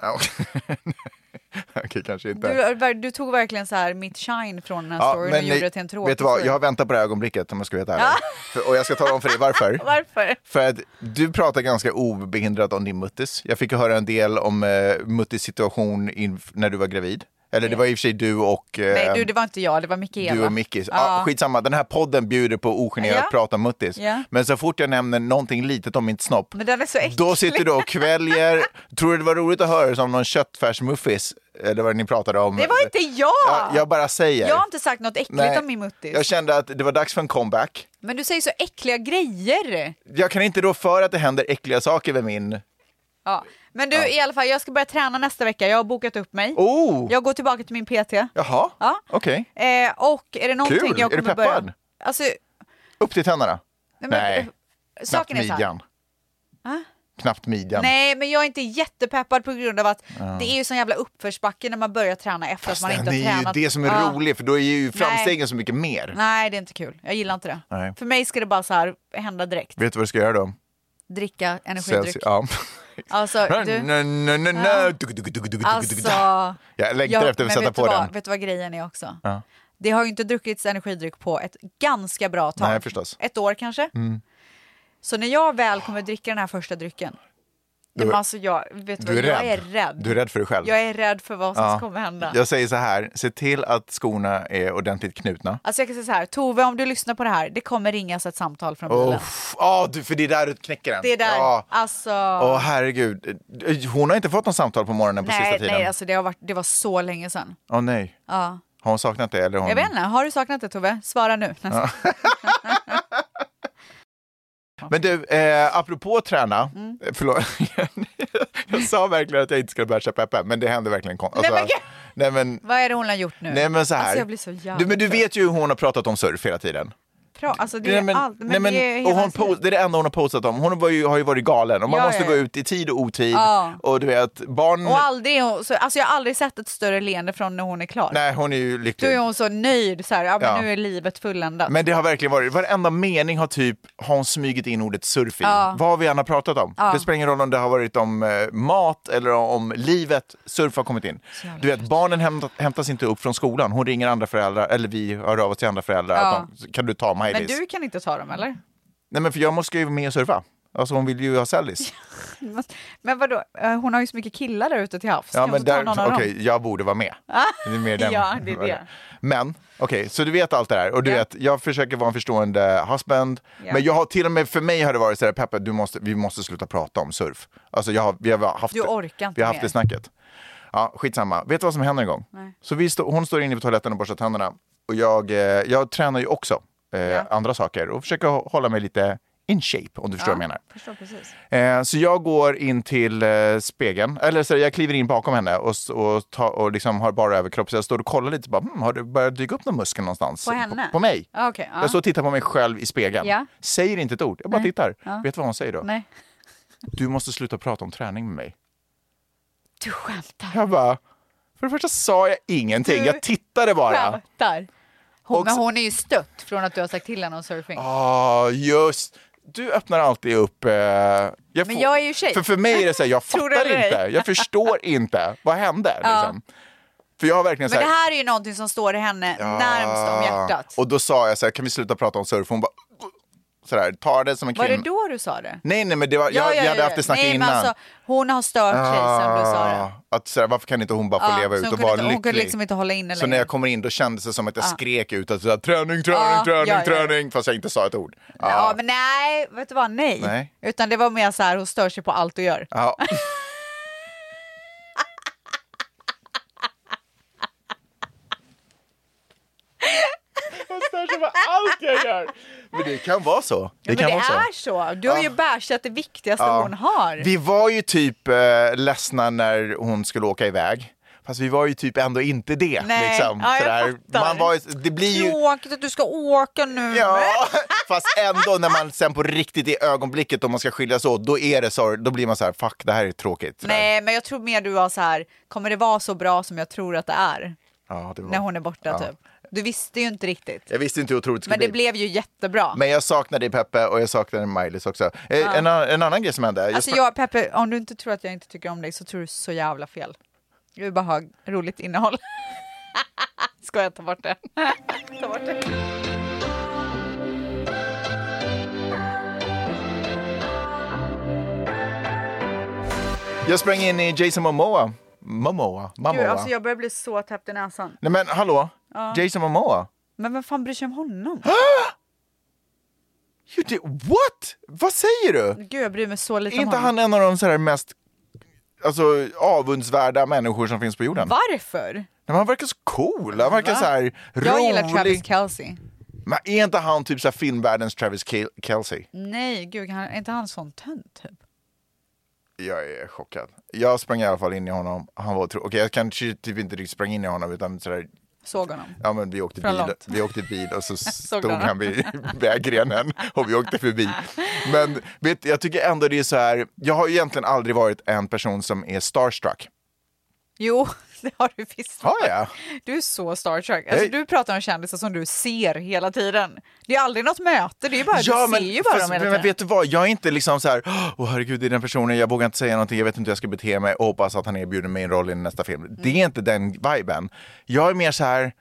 S1: Ja, okej. Okej, kanske inte.
S2: Du, du tog verkligen så här mitt shine från den här storyn och gjorde
S1: nej,
S2: det till en tråkig
S1: Vet du vad,
S2: story.
S1: jag har väntat på det här ögonblicket om jag ska vara helt ärlig. För- Och jag ska tala om för dig varför.
S2: Varför?
S1: För att du pratar ganska obehindrat om din muttis. Jag fick ju höra en del om eh, muttis situation inf- när du var gravid. Eller det var i och för sig du och... eh,
S2: Nej, du, det var inte jag, det var Mikaela.
S1: du och Mickis.
S2: Ja.
S1: Ja. skitsamma, den här podden bjuder på ogenerat
S2: Ja.
S1: prata muttis.
S2: Ja.
S1: Men så fort jag nämner någonting litet om min snopp,
S2: Men den är så äcklig.
S1: då sitter du och kväljer. Tror du det var roligt att höra det som någon köttfärsmuffis? Eller vad ni pratade om.
S2: Det var inte jag!
S1: Ja, jag bara säger.
S2: Jag har inte sagt något äckligt
S1: Nej.
S2: om min muttis.
S1: Jag kände att det var dags för en comeback.
S2: Men du säger så äckliga grejer.
S1: Jag kan inte då för att det händer äckliga saker med min...
S2: Ja. Men du, i alla fall, jag ska börja träna nästa vecka. Jag har bokat upp mig.
S1: Oh!
S2: Jag går tillbaka till min PT.
S1: Jaha,
S2: Ja.
S1: okej.
S2: Eh, och är det någonting
S1: Kul!
S2: jag
S1: Är du
S2: kommer
S1: peppad?
S2: börja... Alltså,
S1: Upp till tänderna.
S2: men-
S1: Nej, knappt
S2: saken är så här. Ah?
S1: midjan. Knappt midjan.
S2: Nej, men jag är inte jättepeppad på grund av att det är ju sån jävla uppförsbacke när man börjar träna efter att man inte
S1: det
S2: har
S1: är ju
S2: tränat.
S1: det som är
S2: Ja.
S1: roligt, för då är ju framstegen så mycket mer.
S2: Nej, det är inte kul. Jag gillar inte det.
S1: Nej.
S2: För mig ska det bara så här hända direkt.
S1: Vet du vad du ska göra då?
S2: Dricka energidryck.
S1: Celsius- Ja.
S2: Alltså, du...
S1: Na, na, na, na. Tuk, tuk, tuk, tuk, tuk, tuk, tuk.
S2: Alltså...
S1: Jag längtar efter
S2: men
S1: att sätta
S2: vet du
S1: på
S2: vad,
S1: den.
S2: Vet du vad grejen är också?
S1: Ja.
S2: Det har ju inte druckits energidryck på ett ganska bra tag.
S1: Nej, förstås. Mm.
S2: Ett år kanske. Så när jag väl kommer dricka den här första drycken,
S1: Du-
S2: du, alltså jag, vet
S1: Du
S2: du vad,
S1: är rädd.
S2: jag är rädd.
S1: Du är rädd för dig själv.
S2: Jag är rädd för vad som
S1: Ja.
S2: kommer hända.
S1: Jag säger så här, se till att skorna är ordentligt knutna.
S2: Alltså jag kan säga så här, Tove om du lyssnar på det här, det kommer ringas ett samtal från bilen.
S1: Åh, oh, du, för det är där du knäcker den.
S2: Det är där,
S1: Ja.
S2: alltså.
S1: Åh, herregud. Hon har inte fått något samtal på morgonen på sista
S2: nej,
S1: tiden.
S2: nej, alltså det, har varit, det var så länge sedan.
S1: Åh, nej.
S2: Ja.
S1: Har hon saknat det? Eller hon...
S2: Jag vet inte, har du saknat det Tove? Svara nu.
S1: Men du, eh, apropå träna.
S2: Mm.
S1: eh, Förlåt. jag sa verkligen att jag inte skulle bärsa Peppe, men det hände verkligen. Kon-
S2: Nej, men
S1: alltså, nej, men,
S2: Vad är det hon har gjort nu?
S1: nej, men så här.
S2: Alltså jag blir så jävla
S1: du, men du vet ju hur hon har pratat om surf hela tiden.
S2: Bra, alltså det är allt. Men
S1: nej, men,
S2: det är
S1: och
S2: hela
S1: hon
S2: tiden.
S1: po- det är det enda hon har postat om. Hon var ju, har ju varit galen och man
S2: Ja,
S1: måste
S2: ja,
S1: gå
S2: ja.
S1: ut i tid och otid.
S2: Ja.
S1: Och du vet, barn...
S2: Och aldrig, är hon så, alltså jag har aldrig sett ett större leende från när hon är klar.
S1: Nej, hon är ju
S2: Då
S1: lycklig.
S2: är hon så nöjd, så här, ja, men
S1: Ja.
S2: nu är livet fulländat.
S1: Men det har verkligen varit, varenda mening har typ har hon smugit in ordet surf i. Vad vi än har pratat om. Det spelar ingen roll om det har varit om eh, mat eller om livet, surf har kommit in. Du vet, barnen hämta, hämtas inte upp från skolan. Hon ringer andra föräldrar, eller vi hör av oss till andra föräldrar. Att de, kan du ta maj
S2: men du kan inte ta dem eller?
S1: Nej men för jag måste ju med och surfa. Alltså hon vill ju ha sällis.
S2: Men vadå, Eh, hon har ju så mycket killar där ute till havs.
S1: Ja, men
S2: kan hon inte
S1: där,
S2: ta någon av
S1: okej,
S2: dem?
S1: jag borde vara med. Det är mer
S2: Ja, det är det.
S1: Men, okej, så du vet allt det här. Och du
S2: Ja.
S1: vet, jag försöker vara en förstående husband.
S2: Ja.
S1: Men jag har till och med, för mig har det varit så här, Peppe, du måste, vi måste sluta prata om surf. Alltså jag har, vi har haft,
S2: Du orkar inte
S1: vi har haft
S2: mer.
S1: det snacket. Ja, skitsamma. Vet du vad som händer en gång? Så vi stå, hon står inne på toaletten och borstar tänderna. Och jag, eh, jag tränar ju också eh, andra saker och försöker hå- hålla mig lite in shape, om du förstår vad jag menar.
S2: Förstår precis.
S1: Eh, så jag går in till eh, spegeln, eller så jag kliver in bakom henne och, s- och, ta, och liksom har bara överkropp. Så jag står och kollar lite, bara, mm, har det börjat dyka upp någon muskel någonstans?
S2: På henne?
S1: På, mig.
S2: Ja, okej, ja.
S1: Jag står och tittar på mig själv i spegeln.
S2: Ja.
S1: Säger inte ett ord, jag bara tittar. Vet du vad hon säger då?
S2: Nej,
S1: Du måste sluta prata om träning med mig.
S2: du skämtar.
S1: Jag bara, för det första sa jag ingenting, jag tittade bara.
S2: Skämtar. Hon,
S1: Och
S2: men
S1: så-
S2: hon är ju stött från att du har sagt till henne om surfing.
S1: Ja, Ah, just. Du öppnar alltid upp. Eh, jag
S2: Men jag är ju tjej.
S1: För, för mig är det så här, jag
S2: Tror du
S1: fattar
S2: eller ej?
S1: inte. Jag förstår inte. Vad hände? Liksom. För jag har verkligen så
S2: men
S1: här, Ah.
S2: det här är ju någonting som står henne närmst om hjärtat.
S1: Och då sa jag så här, kan vi sluta prata om surf? Hon bara, så där, tar det som en
S2: Var
S1: kvinna.
S2: det då du sa det?
S1: Nej, nej, men det var, jag, jag hade haft det snacket
S2: Nej,
S1: innan.
S2: Men alltså, hon har stört sig sen du sa det.
S1: Ah, Att så här, varför kan inte hon bara få
S2: Ja,
S1: leva
S2: så
S1: ut
S2: hon
S1: och
S2: kunde
S1: vara
S2: inte- hon
S1: lycklig?
S2: kunde liksom inte hålla inne
S1: så
S2: längre. Ah.
S1: när jag kommer in då kändes det som att jag skrek ut att så här, träning, träning,
S2: Ja,
S1: träning,
S2: ja, ja.
S1: träning. Fast jag inte sa ett ord. Ja.
S2: Ja, men nej, vet du vad, nej.
S1: Nej.
S2: Utan det var mer så här, hon stör sig på allt du gör.
S1: Ja. Jag stör sig på allt jag gör. Men det kan vara så. Det
S2: Det
S1: kan
S2: men det
S1: vara så. Ah.
S2: är så. Du har ju bärsat det viktigaste hon har.
S1: Vi var ju typ eh, ledsna när hon skulle åka iväg. Fast vi var ju typ ändå inte det.
S2: Nej,
S1: Liksom.
S2: ja, jag
S1: Sådär.
S2: fattar.
S1: Man var, ju- det blir ju...
S2: Tråkigt att du ska åka nu.
S1: Ja, fast ändå när man sen på riktigt i ögonblicket om man ska skiljas åt, då är det så, då blir man så här, fuck det här är tråkigt. Sådär.
S2: Nej, men jag tror mer du var så här, kommer det vara så bra som jag tror att det är?
S1: Ja, det var...
S2: När hon är borta
S1: Ja.
S2: typ. Du visste ju inte riktigt.
S1: Jag visste inte hur otroligt det skulle
S2: Men det
S1: bli.
S2: blev ju jättebra.
S1: Men jag saknar dig Peppe och jag saknar Maj-Lis också. Eh, En, an- en annan grej som hände. Jag
S2: Alltså
S1: spr-
S2: jag, Peppe, om du inte tror att jag inte tycker om dig så tror du så jävla fel. Jag vill bara ha roligt innehåll. Ska jag ta bort det? ta bort det.
S1: Jag sprang in i Jason Momoa. Momoa? Momoa.
S2: Gud, alltså jag börjar bli så täppt i näsan.
S1: Nej men hallå? Jason Momoa?
S2: Men vem fan bryr sig om honom?
S1: You did, what? Vad säger du?
S2: Gud, jag bryr mig så lite
S1: Är
S2: om
S1: inte
S2: honom.
S1: han en av de så här mest alltså, avundsvärda människor som finns på jorden?
S2: Varför?
S1: Nej, men han verkar så cool, han verkar
S2: Va?
S1: så här rolig.
S2: Jag gillar Travis Kelce.
S1: Men är inte han typ så här filmvärldens Travis Kel- Kelce?
S2: Nej, gud, han, är inte han sån tönt typ?
S1: Jag är chockad. Jag sprang i alla fall in i honom. Han var otro... Okej, jag kanske typ inte riktigt sprang in i honom utan så där,
S2: Såg honom.
S1: ja men vi åkte
S2: Från
S1: bil,
S2: långt.
S1: vi åkte bil och så stod
S2: honom.
S1: han vid vägrenen och vi åkte förbi. Men vet, du, jag tycker ändå det är så här, jag har ju egentligen aldrig varit en person som är starstruck.
S2: Jo, det har du visst.
S1: Har jag?
S2: Du är så Star Trek. Alltså,
S1: Nej.
S2: du pratar om kändisar som du ser hela tiden. Det är aldrig något möte, det är bara, du ser ju bara
S1: fast-
S2: dem hela
S1: men,
S2: tiden.
S1: vet du vad, jag är inte liksom så här, åh herregud det är den personen, jag vågar inte säga någonting, jag vet inte hur jag ska bete mig och hoppas att han erbjuder mig en roll i nästa film.
S2: Mm.
S1: Det är inte den viben. Jag är mer så här,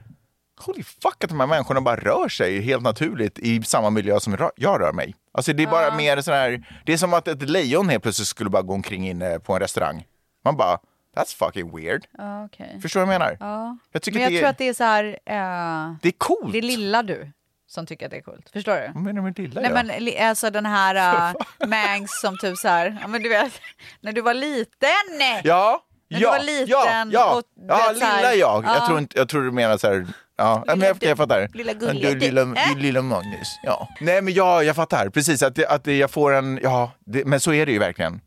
S1: holy fuck att de här människorna bara rör sig helt naturligt i samma miljö som ra- jag rör mig. Alltså det är bara mer så här, det är som att ett lejon helt plötsligt skulle bara gå omkring inne på en restaurang. Man bara, that's fucking weird.
S2: Ja, okej.
S1: Förstår du vad jag menar? Jag tycker
S2: Men jag
S1: det,
S2: tror
S1: är,
S2: att det är så här, eh,
S1: det är coolt.
S2: det är lilla du som tycker att det är coolt. Förstår du?
S1: Vad menar du med lilla?
S2: Nej
S1: då?
S2: men li- alltså den här uh, Mangs som typ så här, ja men du vet, när du var liten!
S1: Ja.
S2: När
S1: Ja,
S2: du var
S1: ja,
S2: liten
S1: ja,
S2: och
S1: ja,
S2: vet så här-
S1: lilla jag.
S2: Ja.
S1: Jag, tror inte, jag tror du menar så här... Ja, ja, men jag, jag fattar.
S2: lilla
S1: Ja,
S2: gulliga
S1: Du, lilla,
S2: du. Äh.
S1: du, lilla Magnus. Ja. Nej, men ja, jag fattar. Precis, att, det- att det- jag får en... Ja, det, men så är det ju verkligen.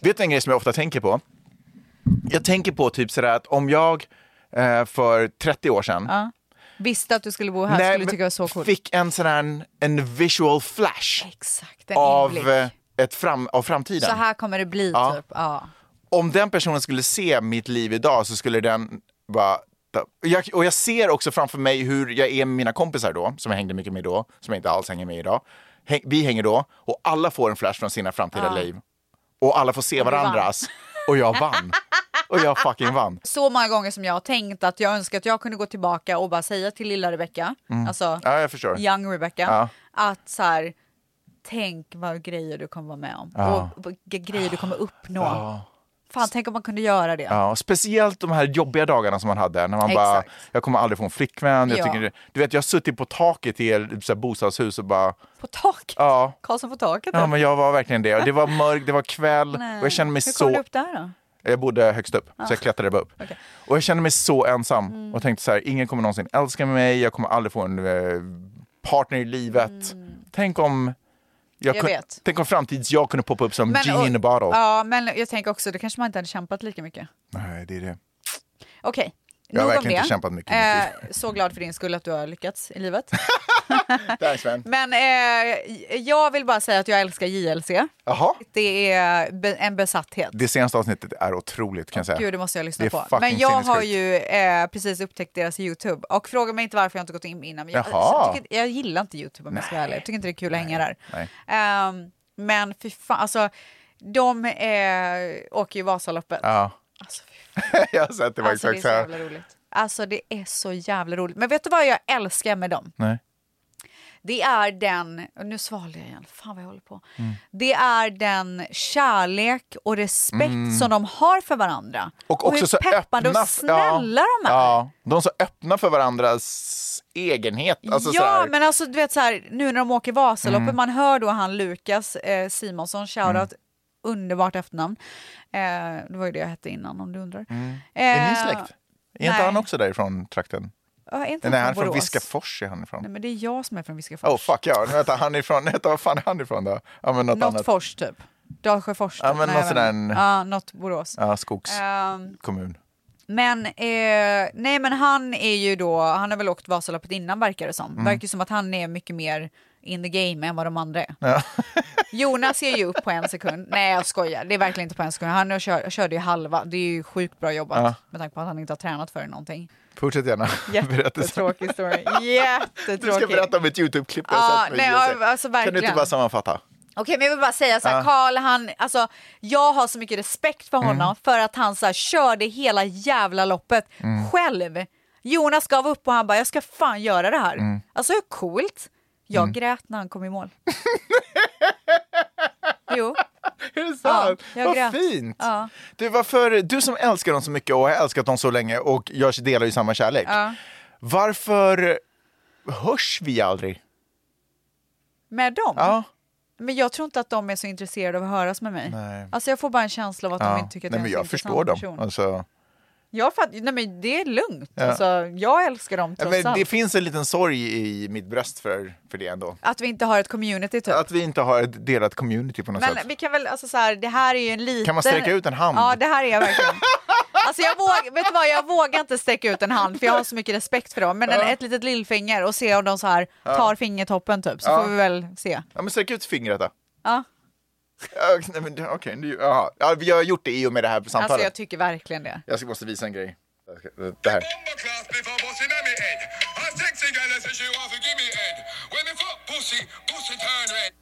S1: Vet du en grej som jag ofta tänker på? Jag tänker på typ sådär att om jag eh, för 30 år sedan
S2: Visste att du skulle bo här skulle du
S1: men
S2: tycka det var så coolt.
S1: fick en sån här en, en visual flash
S2: Exakt, en
S1: av,
S2: inblick.
S1: eh, ett fram, av framtiden.
S2: Så här kommer det bli
S1: Ja.
S2: typ. Ja.
S1: om den personen skulle se mitt liv idag så skulle den bara... Jag, och jag ser också framför mig hur jag är med mina kompisar då, som jag hängde mycket med då, som jag inte alls hänger med idag. Häng, vi hänger då och alla får en flash från sina framtida liv. Och alla får se
S2: du vann.
S1: varandras. Och jag vann. Och jag fucking vann.
S2: Så många gånger som jag har tänkt att jag önskar att jag kunde gå tillbaka och bara säga till lilla Rebecca, alltså
S1: Mm. Ja, jag förstår.
S2: young Rebecca,
S1: Ja.
S2: att så här, tänk vad grejer du kommer vara med om och, och g- grejer du kommer uppnå. Fan, tänk om man kunde göra det.
S1: Ja, och speciellt de här jobbiga dagarna som man hade när man bara,
S2: Exakt.
S1: jag kommer aldrig få en flickvän. Jag
S2: Ja.
S1: tycker, du vet, jag har suttit på taket i ett så här bostadshus och bara,
S2: På taket.
S1: ja,
S2: Karlsson på taket.
S1: Ja,
S2: där.
S1: men jag var verkligen det. Och det var mörkt, det var kväll och jag kände mig
S2: Hur kom du
S1: så...
S2: upp Ah. där då?
S1: Jag bodde högst upp, så jag klättrade bara upp. Och jag kände mig så ensam
S2: Mm.
S1: och tänkte så här, ingen kommer någonsin älska mig, jag kommer aldrig få en eh, partner i livet. Tänk om...
S2: Mm. Jag
S1: kun-
S2: vet.
S1: Tänk om framtids jag kunde poppa upp som genie
S2: och-
S1: in a bottle.
S2: Ja, men jag tänker också, då kanske man inte hade kämpat lika mycket.
S1: Nej, det är det.
S2: Okej,
S1: Jag har
S2: nog om
S1: verkligen
S2: det.
S1: inte kämpat mycket i mitt
S2: Eh, så glad för din skull att du har lyckats i livet.
S1: Thanks man.
S2: men eh, jag vill bara säga att jag älskar JLC.
S1: Jaha.
S2: Det är be- en besatthet.
S1: Det senaste avsnittet är otroligt kan jag säga.
S2: Gud, det måste jag lyssna
S1: Det är
S2: på.
S1: fucking
S2: Men jag har
S1: sinnessjukt.
S2: ju eh, precis upptäckt deras YouTube och fråga mig inte varför jag inte gått in innan. Men jag,
S1: Jaha.
S2: jag, tycker, jag gillar inte YouTube om jag ska vara ärlig. Jag tycker inte det är kul att hänga där.
S1: Nej.
S2: Ehm, men fy fan, alltså de eh, åker ju Vasaloppet.
S1: Ja.
S2: Alltså, fy
S1: jag har sett det var
S2: Alltså det är
S1: exakt
S2: så
S1: så här.
S2: jävla roligt. Alltså det är så jävla roligt. Men vet du vad jag älskar med dem?
S1: Nej.
S2: Det är den, och nu svalde jag igen, fan vad jag håller på.
S1: Mm.
S2: Det är den kärlek och respekt som de har för varandra.
S1: Mm. Och
S2: hur
S1: också så
S2: peppande
S1: öppna,
S2: och snälla de är.
S1: Ja, de så öppna för varandras egenhet. Alltså så
S2: ja,
S1: här. Mm.
S2: men alltså du vet så här, nu när de åker Vasaloppet, man hör då han Lukas eh, Simonsson, shoutout, underbart efternamn. Eh, det var ju det jag hette innan om du undrar.
S1: Mm. Är ni
S2: Eh,
S1: släkt? Är inte
S2: nej.
S1: han också därifrån trakten?
S2: ja, är inte
S1: Nej, han är från
S2: Borås? Mm.
S1: Viskafors. Är han ifrån.
S2: Nej, men det är jag som är från Viskafors.
S1: Oh fuck ja, nu vänta, han är ifrån, vänta, vad fan är han ifrån då? Ja men något,
S2: Något
S1: annat.
S2: fors typ. Dalsjöfors.
S1: Ja,
S2: typ.
S1: men
S2: Nej,
S1: något
S2: jag
S1: sån där
S2: vet inte.
S1: en-
S2: Ja, något Borås.
S1: Ja, skogskommun.
S2: Ehm, men, eh, nej, men han är ju då, han har väl åkt Vasaloppet innan verkar det
S1: Mm.
S2: som. Verkar ju som att han är mycket mer in the game än vad de andra är. Jonas ger ju upp på en sekund. Nej jag skojar, det är verkligen inte på en sekund. Han kör, körde ju halva, det är ju sjukt bra jobbat
S1: Ja.
S2: med tanke på att han inte har tränat för det någonting.
S1: Fortsätt gärna berättelsen.
S2: Jättetråkig story.
S1: Du ska
S2: Jättetråkig.
S1: berätta om ett YouTube-klipp du
S2: Ja,
S1: har sett med
S2: nej,
S1: Jesse.
S2: ja, alltså
S1: Kan du inte
S2: verkligen.
S1: bara sammanfatta?
S2: Okej men jag vill bara säga så här,
S1: Ja. Mm.
S2: Carl han, alltså jag har så mycket respekt för honom för att han så här, körde hela jävla loppet
S1: Mm.
S2: själv. Jonas gav upp och han bara, jag ska fan göra det här.
S1: Mm.
S2: Alltså hur coolt? Jag grät när han kom i mål. jo.
S1: Är det sant?
S2: jag
S1: vad
S2: grät.
S1: fint!
S2: Ja.
S1: Du, varför, du som älskar dem så mycket och har älskat dem så länge och jag delar ju samma kärlek.
S2: Ja.
S1: Varför hörs vi aldrig?
S2: Med dem?
S1: Ja.
S2: Men jag tror inte att de är så intresserade av att höras med mig.
S1: Nej.
S2: Alltså jag får bara en känsla av att de
S1: ja.
S2: inte tycker att
S1: Nej,
S2: jag
S1: men
S2: är en
S1: jag
S2: så
S1: förstår
S2: intressant
S1: dem.
S2: person.
S1: Alltså,
S2: Jag fatt, nej men det är lugnt.
S1: Ja.
S2: Alltså, jag älskar dem
S1: ja,
S2: trots
S1: men det
S2: allt.
S1: finns en liten sorg i mitt bröst för, för det ändå.
S2: Att vi inte har ett community typ.
S1: Att vi inte har ett delat community på något
S2: Men
S1: sätt.
S2: vi kan väl, alltså så här, det här är ju en liten...
S1: Kan man sträcka ut en hand?
S2: Ja, det här är jag verkligen. Alltså jag våg, vet du vad, jag vågar inte sträcka ut en hand för jag har så mycket respekt för dem. Men en, ett litet lillfinger och se om de så här tar fingertoppen typ, så
S1: Ja.
S2: får vi väl se.
S1: Ja, men sträck ut fingret då.
S2: Ja.
S1: Ja, nej, men det- Okej, okay, ja, jag har gjort det i och med det här samtalet.
S2: Alltså jag tycker verkligen det.
S1: jag ska- måste visa en grej. Jag ska- eh, Det här.
S8: Bomber class before bossing them head. A sexy girl that says she wants to give me head. When the fuck pussy, pussy turn red.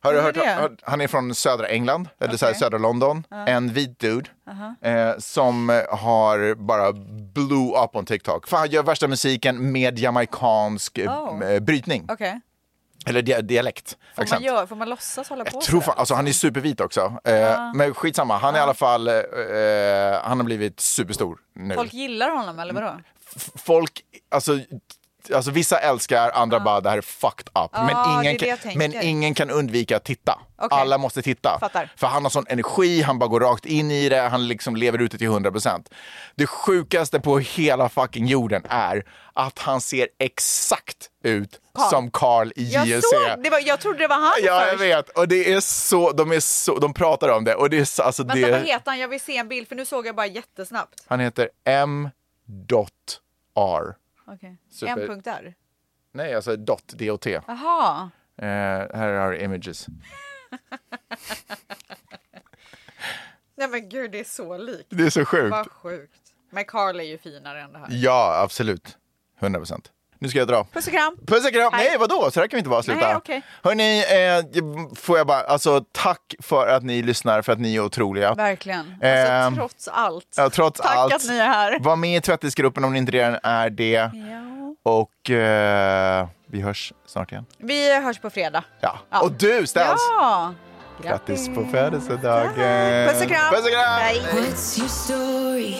S1: Har du
S2: Vem är
S1: hört,
S2: det?
S1: hört- han är från södra England, eller så här,
S2: Okej.
S1: södra London. En vit dude eh, som har bara blew up on TikTok. För han gör värsta musiken med jamaicansk
S2: Oh.
S1: oh. brytning,
S2: Okej.
S1: eller dia- dialekt.
S2: Får, man
S1: accent.
S2: gör, får man låtsas hålla på
S1: Jag tror
S2: så
S1: fan,
S2: här?
S1: alltså han är supervit också. Eh, Men skitsamma, han är i alla fall, eh, eh, han har blivit superstor nu.
S2: Folk gillar honom eller vadå?
S1: F- folk alltså, alltså vissa älskar, andra bara det här är fucked up.
S2: det är
S1: men,
S2: det
S1: ingen kan,
S2: jag tänker.
S1: men ingen kan undvika att titta.
S2: Okej.
S1: Alla måste titta.
S2: Fattar.
S1: För han har sån energi, han bara går rakt in i det, han liksom lever ut det till 100%. Det sjukaste på hela fucking jorden är att han ser exakt ut
S2: Carl.
S1: som Carl i
S2: Jag,
S1: JLC.
S2: såg, det var, jag trodde det var han
S1: Ja, jag
S2: först.
S1: vet. Och det är så, de, är så, de pratar om det. Och det är så, alltså
S2: Vänta, vad
S1: det,
S2: heter han? Jag vill se en bild för nu såg jag bara jättesnabbt.
S1: han heter M.R.
S2: Okej.
S1: Super.
S2: En punkt där.
S1: Nej, alltså dot, D-O-T.
S2: Jaha.
S1: Eh, här har du images.
S2: Nej men gud, det är så likt.
S1: Det är så sjukt.
S2: Vad sjukt. Men Carl är ju finare än det här.
S1: Ja, absolut. 100 procent. Nu ska jag dra.
S2: Puss och kram.
S1: Puss och kram!
S2: Hej.
S1: Nej, vadå? Så där kan vi inte bara sluta.
S2: Nej, okej.
S1: Hörni, eh, får jag bara, alltså tack för att ni lyssnar, för att ni är otroliga.
S2: Verkligen.
S1: Ehm,
S2: Alltså trots allt.
S1: Ja, trots
S2: Tack
S1: allt.
S2: att ni är Mm. här.
S1: Var med i tvättisgruppen om ni inte redan är det.
S2: Ja.
S1: Och eh, vi hörs snart igen.
S2: Vi hörs på fredag.
S1: Ja.
S2: Ja.
S1: Och du ställs!
S2: Ja.
S1: Grattis på födelsedagen!
S2: Puss och kram.
S1: Ehm, Puss och kram.
S2: Hej.
S3: What's your story?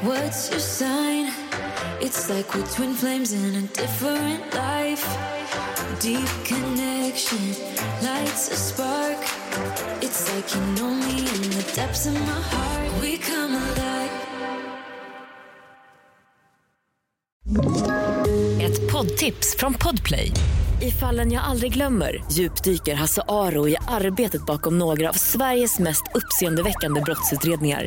S3: What's your sign? It's like we're twin flames in a different life. Deep connection lights a spark. It's like you know me in the depths of my heart. We come alive.
S5: Ett poddtips från Podplay. I fallen jag aldrig glömmer djupdyker Hasse Aro i arbetet bakom några av Sveriges mest uppseendeväckande brottsutredningar.